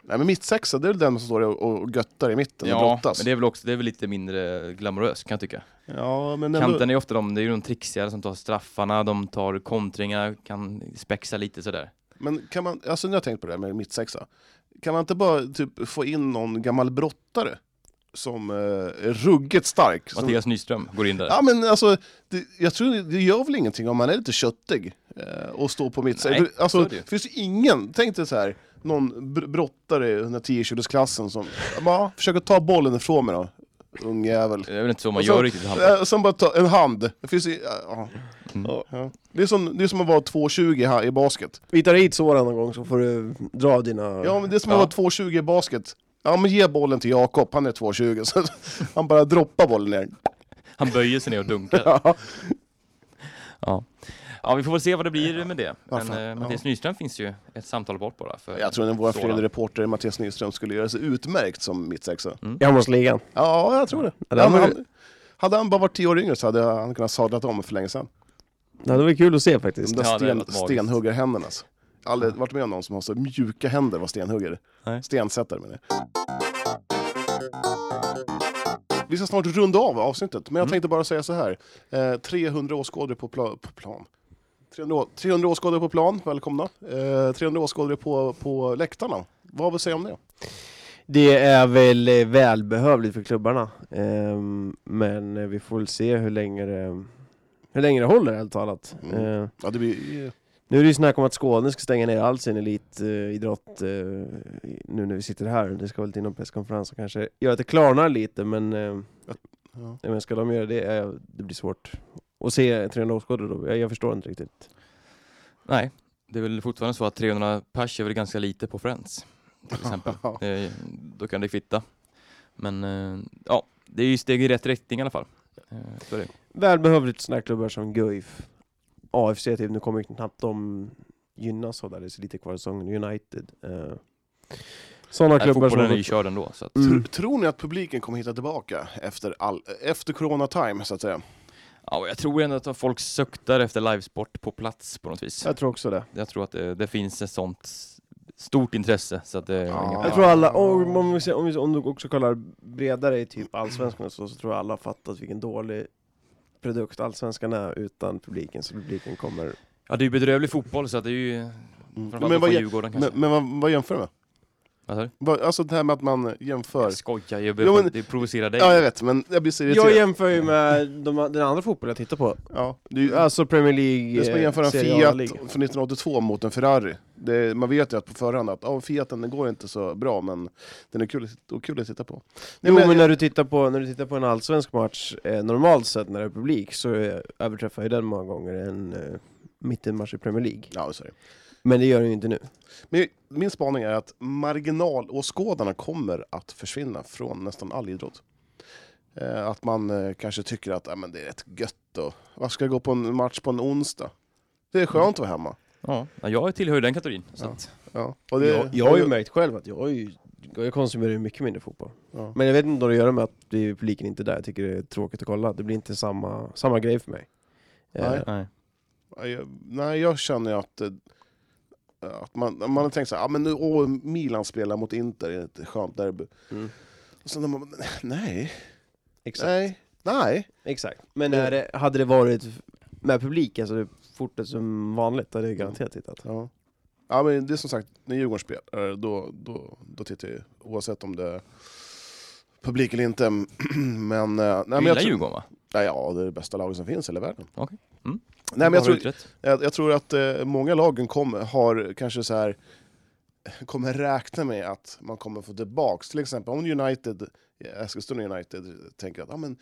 [SPEAKER 2] Nej men mittsexa, det är väl den som står och, och göttar i mitten och
[SPEAKER 1] Ja,
[SPEAKER 2] brottas.
[SPEAKER 1] men det är väl också det är väl lite mindre glamoröst kan jag tycka.
[SPEAKER 2] Ja, men ändå,
[SPEAKER 1] Kanten är ju ofta de, det är ju de trixigare som tar straffarna, de tar kontringar, kan spexa lite sådär.
[SPEAKER 2] Men kan man, alltså nu har jag tänkt på det här med mittsexa. Kan man inte bara typ få in någon gammal brottare som eh, är ruggigt stark? Som,
[SPEAKER 1] Mattias Nyström går in där.
[SPEAKER 2] Ja men alltså, det, jag tror det gör väl ingenting om man är lite köttig eh, och står på mitt
[SPEAKER 1] Nej, så
[SPEAKER 2] Alltså,
[SPEAKER 1] är det ju.
[SPEAKER 2] finns ju ingen, tänk dig så här, någon br- brottare i 110-kilosklassen som, bara, försöker ta bollen ifrån mig då, ungjävel.
[SPEAKER 1] Det är väl inte så man
[SPEAKER 2] Och så-
[SPEAKER 1] gör riktigt i handboll.
[SPEAKER 2] Eh, Sen bara ta en hand, det finns ju, ja.
[SPEAKER 1] Mm.
[SPEAKER 2] ja. Ja. Det, är som, det är som att vara 2,20 här i basket.
[SPEAKER 3] Vi tar hit Soran någon gång så får du dra dina...
[SPEAKER 2] Ja men det är som
[SPEAKER 1] Ja.
[SPEAKER 2] att vara 2,20 i basket, Ja men ge bollen till Jakob, han är 2,20 så han bara droppar bollen ner.
[SPEAKER 1] Han böjer sig ner och dunkar.
[SPEAKER 2] Ja.
[SPEAKER 1] Ja. ja, vi får väl se vad det blir med det. Men
[SPEAKER 2] Varför?
[SPEAKER 1] eh, Mattias Nyström finns ju ett samtal bort bara. För
[SPEAKER 2] Jag tror att vår
[SPEAKER 1] Sådan.
[SPEAKER 2] fredade reporter Mattias Nyström skulle göra sig utmärkt som mittsexa.
[SPEAKER 3] I handbollsligan.
[SPEAKER 2] Ja, jag tror det.
[SPEAKER 3] Ja, det
[SPEAKER 2] Ja, men
[SPEAKER 3] var-
[SPEAKER 2] han, hade han bara varit tio år yngre så hade han kunnat sadlat om för länge sedan.
[SPEAKER 3] Ja, det var kul att se
[SPEAKER 2] De
[SPEAKER 3] faktiskt.
[SPEAKER 2] där
[SPEAKER 1] Ja, det hade
[SPEAKER 2] sten,
[SPEAKER 1] varit magiskt.
[SPEAKER 2] stenhuggarhänderna. Alltså. Jag har Aldrig varit med om någon som har så mjuka händer var stenhuggare.
[SPEAKER 1] Nej.
[SPEAKER 2] Stensättare menar jag. Vi ska snart runda av avsnittet, men
[SPEAKER 1] Mm.
[SPEAKER 2] jag tänkte bara säga så här. Eh, 300 åskådare på, pla- på plan. 300, å- 300 åskådare på plan, välkomna. Eh, 300 åskådare på, på läktarna. Vad vill säga om det?
[SPEAKER 3] Det är väl eh, välbehövligt för klubbarna. Ehm, men eh, vi får väl se hur länge det, hur länge det håller helt talat.
[SPEAKER 2] Mm.
[SPEAKER 3] Ehm,
[SPEAKER 2] Ja, det blir, eh,
[SPEAKER 3] Nu är det ju snack om att Skåne ska stänga ner all sin elitidrott eh, i- nu när vi sitter här. Det ska väl till någon presskonferens och kanske göra att det klarnar lite, men, eh,
[SPEAKER 2] ja.
[SPEAKER 3] nej, men ska de göra det, eh, det blir svårt. Och se 300 åskådare då, jag, jag förstår inte riktigt.
[SPEAKER 1] Nej, det är väl fortfarande så att 300 pers är väl ganska lite på Friends. Till exempel. Eh, Då kan det kvitta. Men eh, ja, det är ju steg i rätt riktning i alla fall. Eh, Så är det.
[SPEAKER 3] Välbehövligt sådana här klubbar som Guif, AFC typ, nu kommer ju knappt de gynnas av det här, det är lite kvar i säsongen, United. Eh, sådana
[SPEAKER 1] Nej,
[SPEAKER 3] klubbar som...
[SPEAKER 1] Äh, Fotbollen
[SPEAKER 3] har
[SPEAKER 1] är
[SPEAKER 3] gått-
[SPEAKER 1] nykörd ändå. Så att,
[SPEAKER 3] Mm.
[SPEAKER 2] Tr- tror ni att publiken kommer hitta tillbaka efter, all, efter corona time, så att
[SPEAKER 3] Mm.
[SPEAKER 2] säga?
[SPEAKER 1] ja, jag tror ändå att folk suktar efter livesport på plats på något vis.
[SPEAKER 3] Jag tror också det.
[SPEAKER 1] Jag tror att det, det finns ett sånt s- stort intresse. Så att det,
[SPEAKER 2] Ja.
[SPEAKER 1] inga-
[SPEAKER 3] Jag tror alla, om, om, vi, ser- om, vi, om du också kollar bredare i typ allsvenskan och så, så tror jag alla har fattat vilken dålig produkt allsvenskan är utan publiken, så publiken kommer...
[SPEAKER 1] ja, det är ju bedrövlig fotboll så att det är ju... Framförallt
[SPEAKER 2] Men
[SPEAKER 1] men
[SPEAKER 2] vad
[SPEAKER 1] på
[SPEAKER 2] ge-
[SPEAKER 1] Djurgården kanske.
[SPEAKER 2] Men, men vad, vad jämför du med?
[SPEAKER 1] Vad sa du?
[SPEAKER 2] Vad- Alltså det här med att man jämför.
[SPEAKER 1] Jag skojar, jag
[SPEAKER 2] Jo,
[SPEAKER 1] behöver
[SPEAKER 2] men-
[SPEAKER 1] inte provocera dig.
[SPEAKER 2] Ja, jag vet, men jag blir så irriterad.
[SPEAKER 3] Jag jämför ju med de, den andra fotbollen jag tittar på,
[SPEAKER 2] ja, det är ju-
[SPEAKER 3] alltså Premier League...
[SPEAKER 2] Mm. det är som att
[SPEAKER 3] eh,
[SPEAKER 2] jämföra en
[SPEAKER 3] Serie
[SPEAKER 2] Fiat
[SPEAKER 3] A-liga.
[SPEAKER 2] från 1982 mot en Ferrari. Det, man vet ju att på förhand att ja, Fiaten den går inte så bra, men den är kul, att- och kul att titta på. Nej,
[SPEAKER 3] Jo
[SPEAKER 2] men-
[SPEAKER 3] men när du tittar på, när du tittar på en allsvensk match, eh, normalt sett när det är publik, så eh, överträffar ju den många gånger en eh, mittenmatch i Premier League.
[SPEAKER 2] Ja, sorry.
[SPEAKER 3] Men det gör den ju inte nu.
[SPEAKER 2] Men min spaning är att marginalåskådarna kommer att försvinna från nästan all idrott. Eh, att man eh, kanske tycker att ah, men det är rätt gött och varför ska jag gå på en match på en onsdag? Det är skönt att vara hemma.
[SPEAKER 1] Ja, jag tillhör ju den kategorin. Så
[SPEAKER 2] Ja.
[SPEAKER 1] att,
[SPEAKER 2] Ja. Och det,
[SPEAKER 3] jag, jag har ju märkt själv att jag, har ju, jag konsumerar ju mycket mindre fotboll.
[SPEAKER 2] Ja.
[SPEAKER 3] Men jag vet inte vad det gör med att det är publiken inte är där. Jag tycker det är tråkigt att kolla. Det blir inte samma, samma grej för mig. Eh,
[SPEAKER 2] Nej.
[SPEAKER 1] nej.
[SPEAKER 2] Ja, jag- Nej, jag känner ju att, eh, att man, man har tänkt så här, ah, men nu, åh, Milan spelar mot Inter, det är ett skönt derby.
[SPEAKER 3] Mm.
[SPEAKER 2] Och sen har man, nej,
[SPEAKER 3] exakt.
[SPEAKER 2] nej, nej.
[SPEAKER 3] exakt. Men när det, hade det varit med publik, alltså det fortet som vanligt, hade jag garanterat tittat.
[SPEAKER 2] Ja. Ja, men det är som sagt, när Djurgården spelar, eh, då, då, då tittar jag ju, oavsett om det är publik eller inte. men, eh, nej,
[SPEAKER 1] Du
[SPEAKER 2] men
[SPEAKER 1] gillar
[SPEAKER 2] jag tror,
[SPEAKER 1] Djurgården va?
[SPEAKER 2] nej, ja, det är det bästa laget som finns i hela världen.
[SPEAKER 1] Okej. Mm.
[SPEAKER 2] Nej, men jag
[SPEAKER 1] Har du
[SPEAKER 2] tror,
[SPEAKER 1] utrett?
[SPEAKER 2] Jag, jag tror att eh, många lagen kom, har kanske så här kommer räkna med att man kommer få tillbaks. Till exempel om United, eh, Eskilstuna United tänker att ah, men,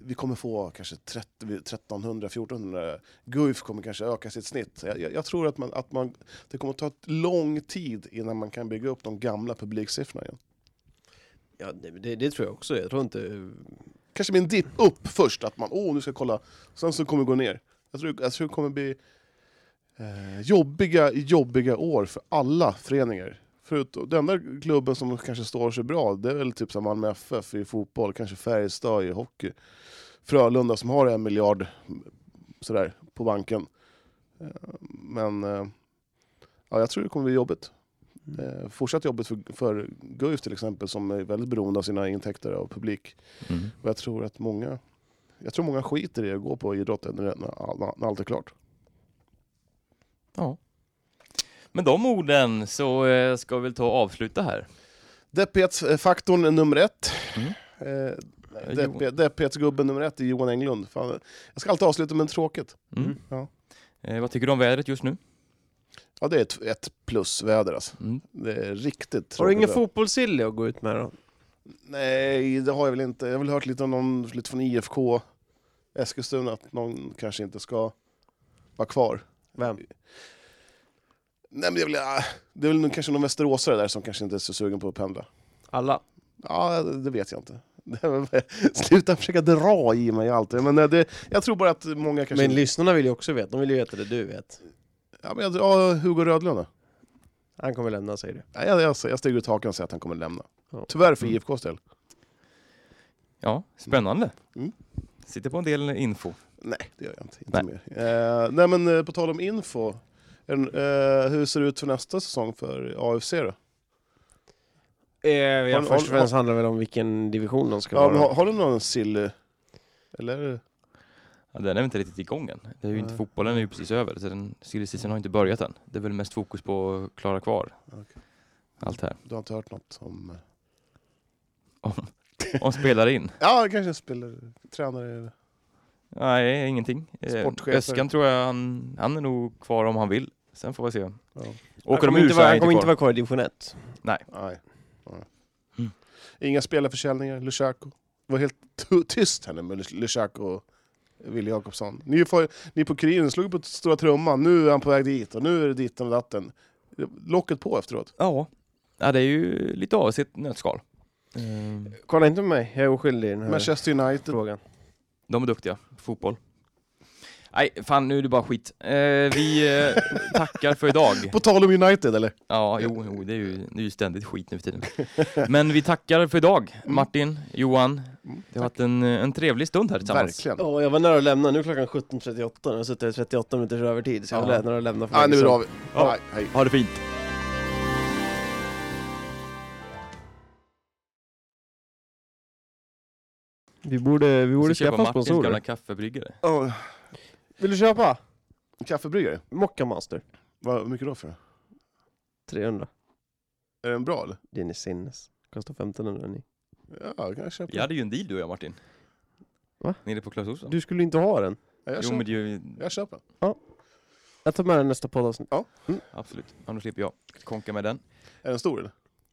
[SPEAKER 2] vi kommer få kanske 30, 1300-1400, Guif kommer kanske öka sitt snitt. Jag, jag, jag tror att, man, att man, det kommer ta ett lång tid innan man kan bygga upp de gamla publiksiffrorna igen.
[SPEAKER 3] Ja, det, det, det tror jag också. Jag tror inte...
[SPEAKER 2] Kanske blir en dipp upp först, att man åh nu ska jag kolla, sen så kommer det gå ner. Jag tror, jag tror det kommer bli eh, jobbiga, jobbiga år för alla föreningar. Förutom, den enda klubben som kanske står sig bra, det är väl typ som Malmö FF i fotboll, kanske Färjestad i hockey. Frölunda som har en miljard mm, sådär, på banken. Eh, men eh, ja, jag tror det kommer bli jobbigt. Eh, fortsatt jobbigt för, för Guif till exempel, som är väldigt beroende av sina intäkter av publik.
[SPEAKER 1] Mm.
[SPEAKER 2] Och jag tror att många, jag tror många skiter i att gå på idrotten när, när, all- när allt är klart.
[SPEAKER 1] Med de orden så eh, ska vi väl ta och avsluta här.
[SPEAKER 2] Deppighetsfaktorn är nummer ett.
[SPEAKER 1] Mm.
[SPEAKER 2] Eh,
[SPEAKER 1] Eh,
[SPEAKER 2] depp- Deppighetsgubben nummer ett är Johan Englund. Fan, jag ska alltid avsluta med tråkigt.
[SPEAKER 1] Mm.
[SPEAKER 2] Ja.
[SPEAKER 1] Eh, vad tycker du om vädret just nu?
[SPEAKER 2] Ja, det är ett, ett plusväder alltså.
[SPEAKER 1] Mm.
[SPEAKER 2] Det är riktigt tråkigt.
[SPEAKER 3] Har du ingen
[SPEAKER 2] väder.
[SPEAKER 3] fotbollssilly att gå ut med då?
[SPEAKER 2] Nej, det har jag väl inte. Jag har väl hört lite om någon, lite från IFK Eskilstuna, att någon kanske inte ska vara kvar.
[SPEAKER 3] Vem?
[SPEAKER 2] Nej, men det är väl, ah, det är väl nog kanske någon västeråsare där som kanske inte är så sugen på att pendla.
[SPEAKER 3] Alla.
[SPEAKER 2] Ja, det vet jag inte. Sluta försöka dra i mig alltid. Men eh, det, jag tror bara att många kanske...
[SPEAKER 3] Men lyssnarna vill ju också veta, de vill ju veta det du vet.
[SPEAKER 2] ja, men jag, ja, Hugo Rödlund då?
[SPEAKER 3] Han kommer lämna, säger du.
[SPEAKER 2] Ja, jag, jag, jag stiger ut hakan och säger att han kommer lämna.
[SPEAKER 3] Ja. Mm.
[SPEAKER 2] Tyvärr för IFKs del.
[SPEAKER 1] Ja, spännande.
[SPEAKER 2] Mm.
[SPEAKER 1] Sitter på en del info.
[SPEAKER 2] Nej, det gör jag inte. inte
[SPEAKER 1] Nej.
[SPEAKER 2] mer. Eh, nej, men eh, på tal om info. En, eh, hur ser det ut för nästa säsong för AFC då?
[SPEAKER 3] Eh, ja,
[SPEAKER 2] Har-
[SPEAKER 3] först och
[SPEAKER 2] har-
[SPEAKER 3] främst handlar det väl om vilken division de ska
[SPEAKER 2] Ja,
[SPEAKER 3] vara.
[SPEAKER 2] men har, har du någon sill... Eller?
[SPEAKER 1] Ja, den är väl inte riktigt igång än. Det är ju inte,
[SPEAKER 2] Nej.
[SPEAKER 1] fotbollen är ju precis över, så den silly har inte börjat än. Det är väl mest fokus på att klara kvar allt här.
[SPEAKER 2] Du har inte hört något om...
[SPEAKER 1] Om, om spelare in.
[SPEAKER 2] Ja, kanske spelare, tränare.
[SPEAKER 1] Nej, ingenting. Eh,
[SPEAKER 2] Sportchefer.
[SPEAKER 1] Öskan tror jag, han, han är nog kvar om han vill. Sen får vi se.
[SPEAKER 2] Ja.
[SPEAKER 3] han
[SPEAKER 1] Åker de
[SPEAKER 3] kommer,
[SPEAKER 1] ur
[SPEAKER 3] inte,
[SPEAKER 1] så
[SPEAKER 3] vara,
[SPEAKER 1] är
[SPEAKER 3] han kommer inte
[SPEAKER 1] kvar.
[SPEAKER 3] vara kvar i division 1.
[SPEAKER 2] Nej. Ja.
[SPEAKER 1] Mm.
[SPEAKER 2] Inga spelarförsäljningar, Lushako. Det var helt t- tyst här nu med Lus- Lushako och Wille Jakobsson. Ni, får, ni på Kuriren slog på stora trumman, nu är han på väg dit och nu är det ditten och datten. Locket på efteråt.
[SPEAKER 1] Ja. ja, det är ju lite av sitt nötskal. Eh,
[SPEAKER 3] Kolla inte på mig, jag är oskyldig i den här
[SPEAKER 2] Manchester United.
[SPEAKER 3] frågan.
[SPEAKER 1] De är duktiga på fotboll. Nej, fan nu är det bara skit. Eh, vi eh, tackar för idag.
[SPEAKER 2] På tal om United eller?
[SPEAKER 1] Ja, jo, jo det, är ju, det är ju ständigt skit nu för tiden. Men vi tackar för idag, Martin, Johan. Det har varit en, eh, en trevlig stund här tillsammans.
[SPEAKER 2] Verkligen.
[SPEAKER 3] Ja, jag var nära att lämna, nu är klockan 17.38, nu har jag suttit 38 minuter över tid, så jag var
[SPEAKER 1] Ja.
[SPEAKER 3] nära att lämna för
[SPEAKER 2] Ja, nu
[SPEAKER 3] länge
[SPEAKER 2] drar
[SPEAKER 3] sedan.
[SPEAKER 2] vi.
[SPEAKER 1] Ja.
[SPEAKER 2] Nej, hej.
[SPEAKER 1] Ha det fint.
[SPEAKER 3] vi borde, vi borde
[SPEAKER 1] Ska köpa
[SPEAKER 3] skaffa
[SPEAKER 1] Martins gamla
[SPEAKER 3] sponsorer.
[SPEAKER 1] kaffebryggare.
[SPEAKER 2] Oh,
[SPEAKER 3] Vill du köpa?
[SPEAKER 2] kaffebryggare,
[SPEAKER 3] Mocca Master
[SPEAKER 2] vad hur mycket då för?
[SPEAKER 3] 300.
[SPEAKER 2] Är den bra eller?
[SPEAKER 3] Det är ni sinnes. Kostar 1500 ni.
[SPEAKER 2] Ja, jag kan köpa.
[SPEAKER 1] Jag hade ju en deal du och jag Martin.
[SPEAKER 3] Va?
[SPEAKER 1] Nere på Clas Ohlson.
[SPEAKER 3] Du skulle inte ha den?
[SPEAKER 2] Ja, jag,
[SPEAKER 1] Jo
[SPEAKER 2] köper.
[SPEAKER 1] men det är ju,
[SPEAKER 2] jag köper.
[SPEAKER 3] Jag tar med den nästa poddavsnitt.
[SPEAKER 1] absolut. Ja, då slipper jag konka med den.
[SPEAKER 2] Är den stor eller?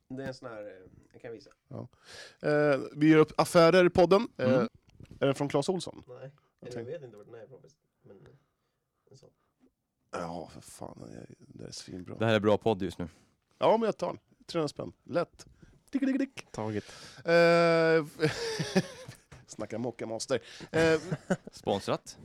[SPEAKER 3] Det är en sån här, jag kan visa.
[SPEAKER 2] Eh, vi gör upp affärer i podden. Eh,
[SPEAKER 1] Mm.
[SPEAKER 2] Är den från Clas Olsson?
[SPEAKER 3] Nej,
[SPEAKER 2] Jag tänkte-
[SPEAKER 3] vet inte vart den är ifrån. Men... eh,
[SPEAKER 2] Ja, för fan. det är- Det är svinbra.
[SPEAKER 1] Det här är bra podd just nu.
[SPEAKER 2] Ja, men jag tar den. 300 spänn. Lätt. Tick, tick, tick.
[SPEAKER 3] Taget.
[SPEAKER 2] Eh, Snacka mockamaster. Eh,
[SPEAKER 1] Sponsrat.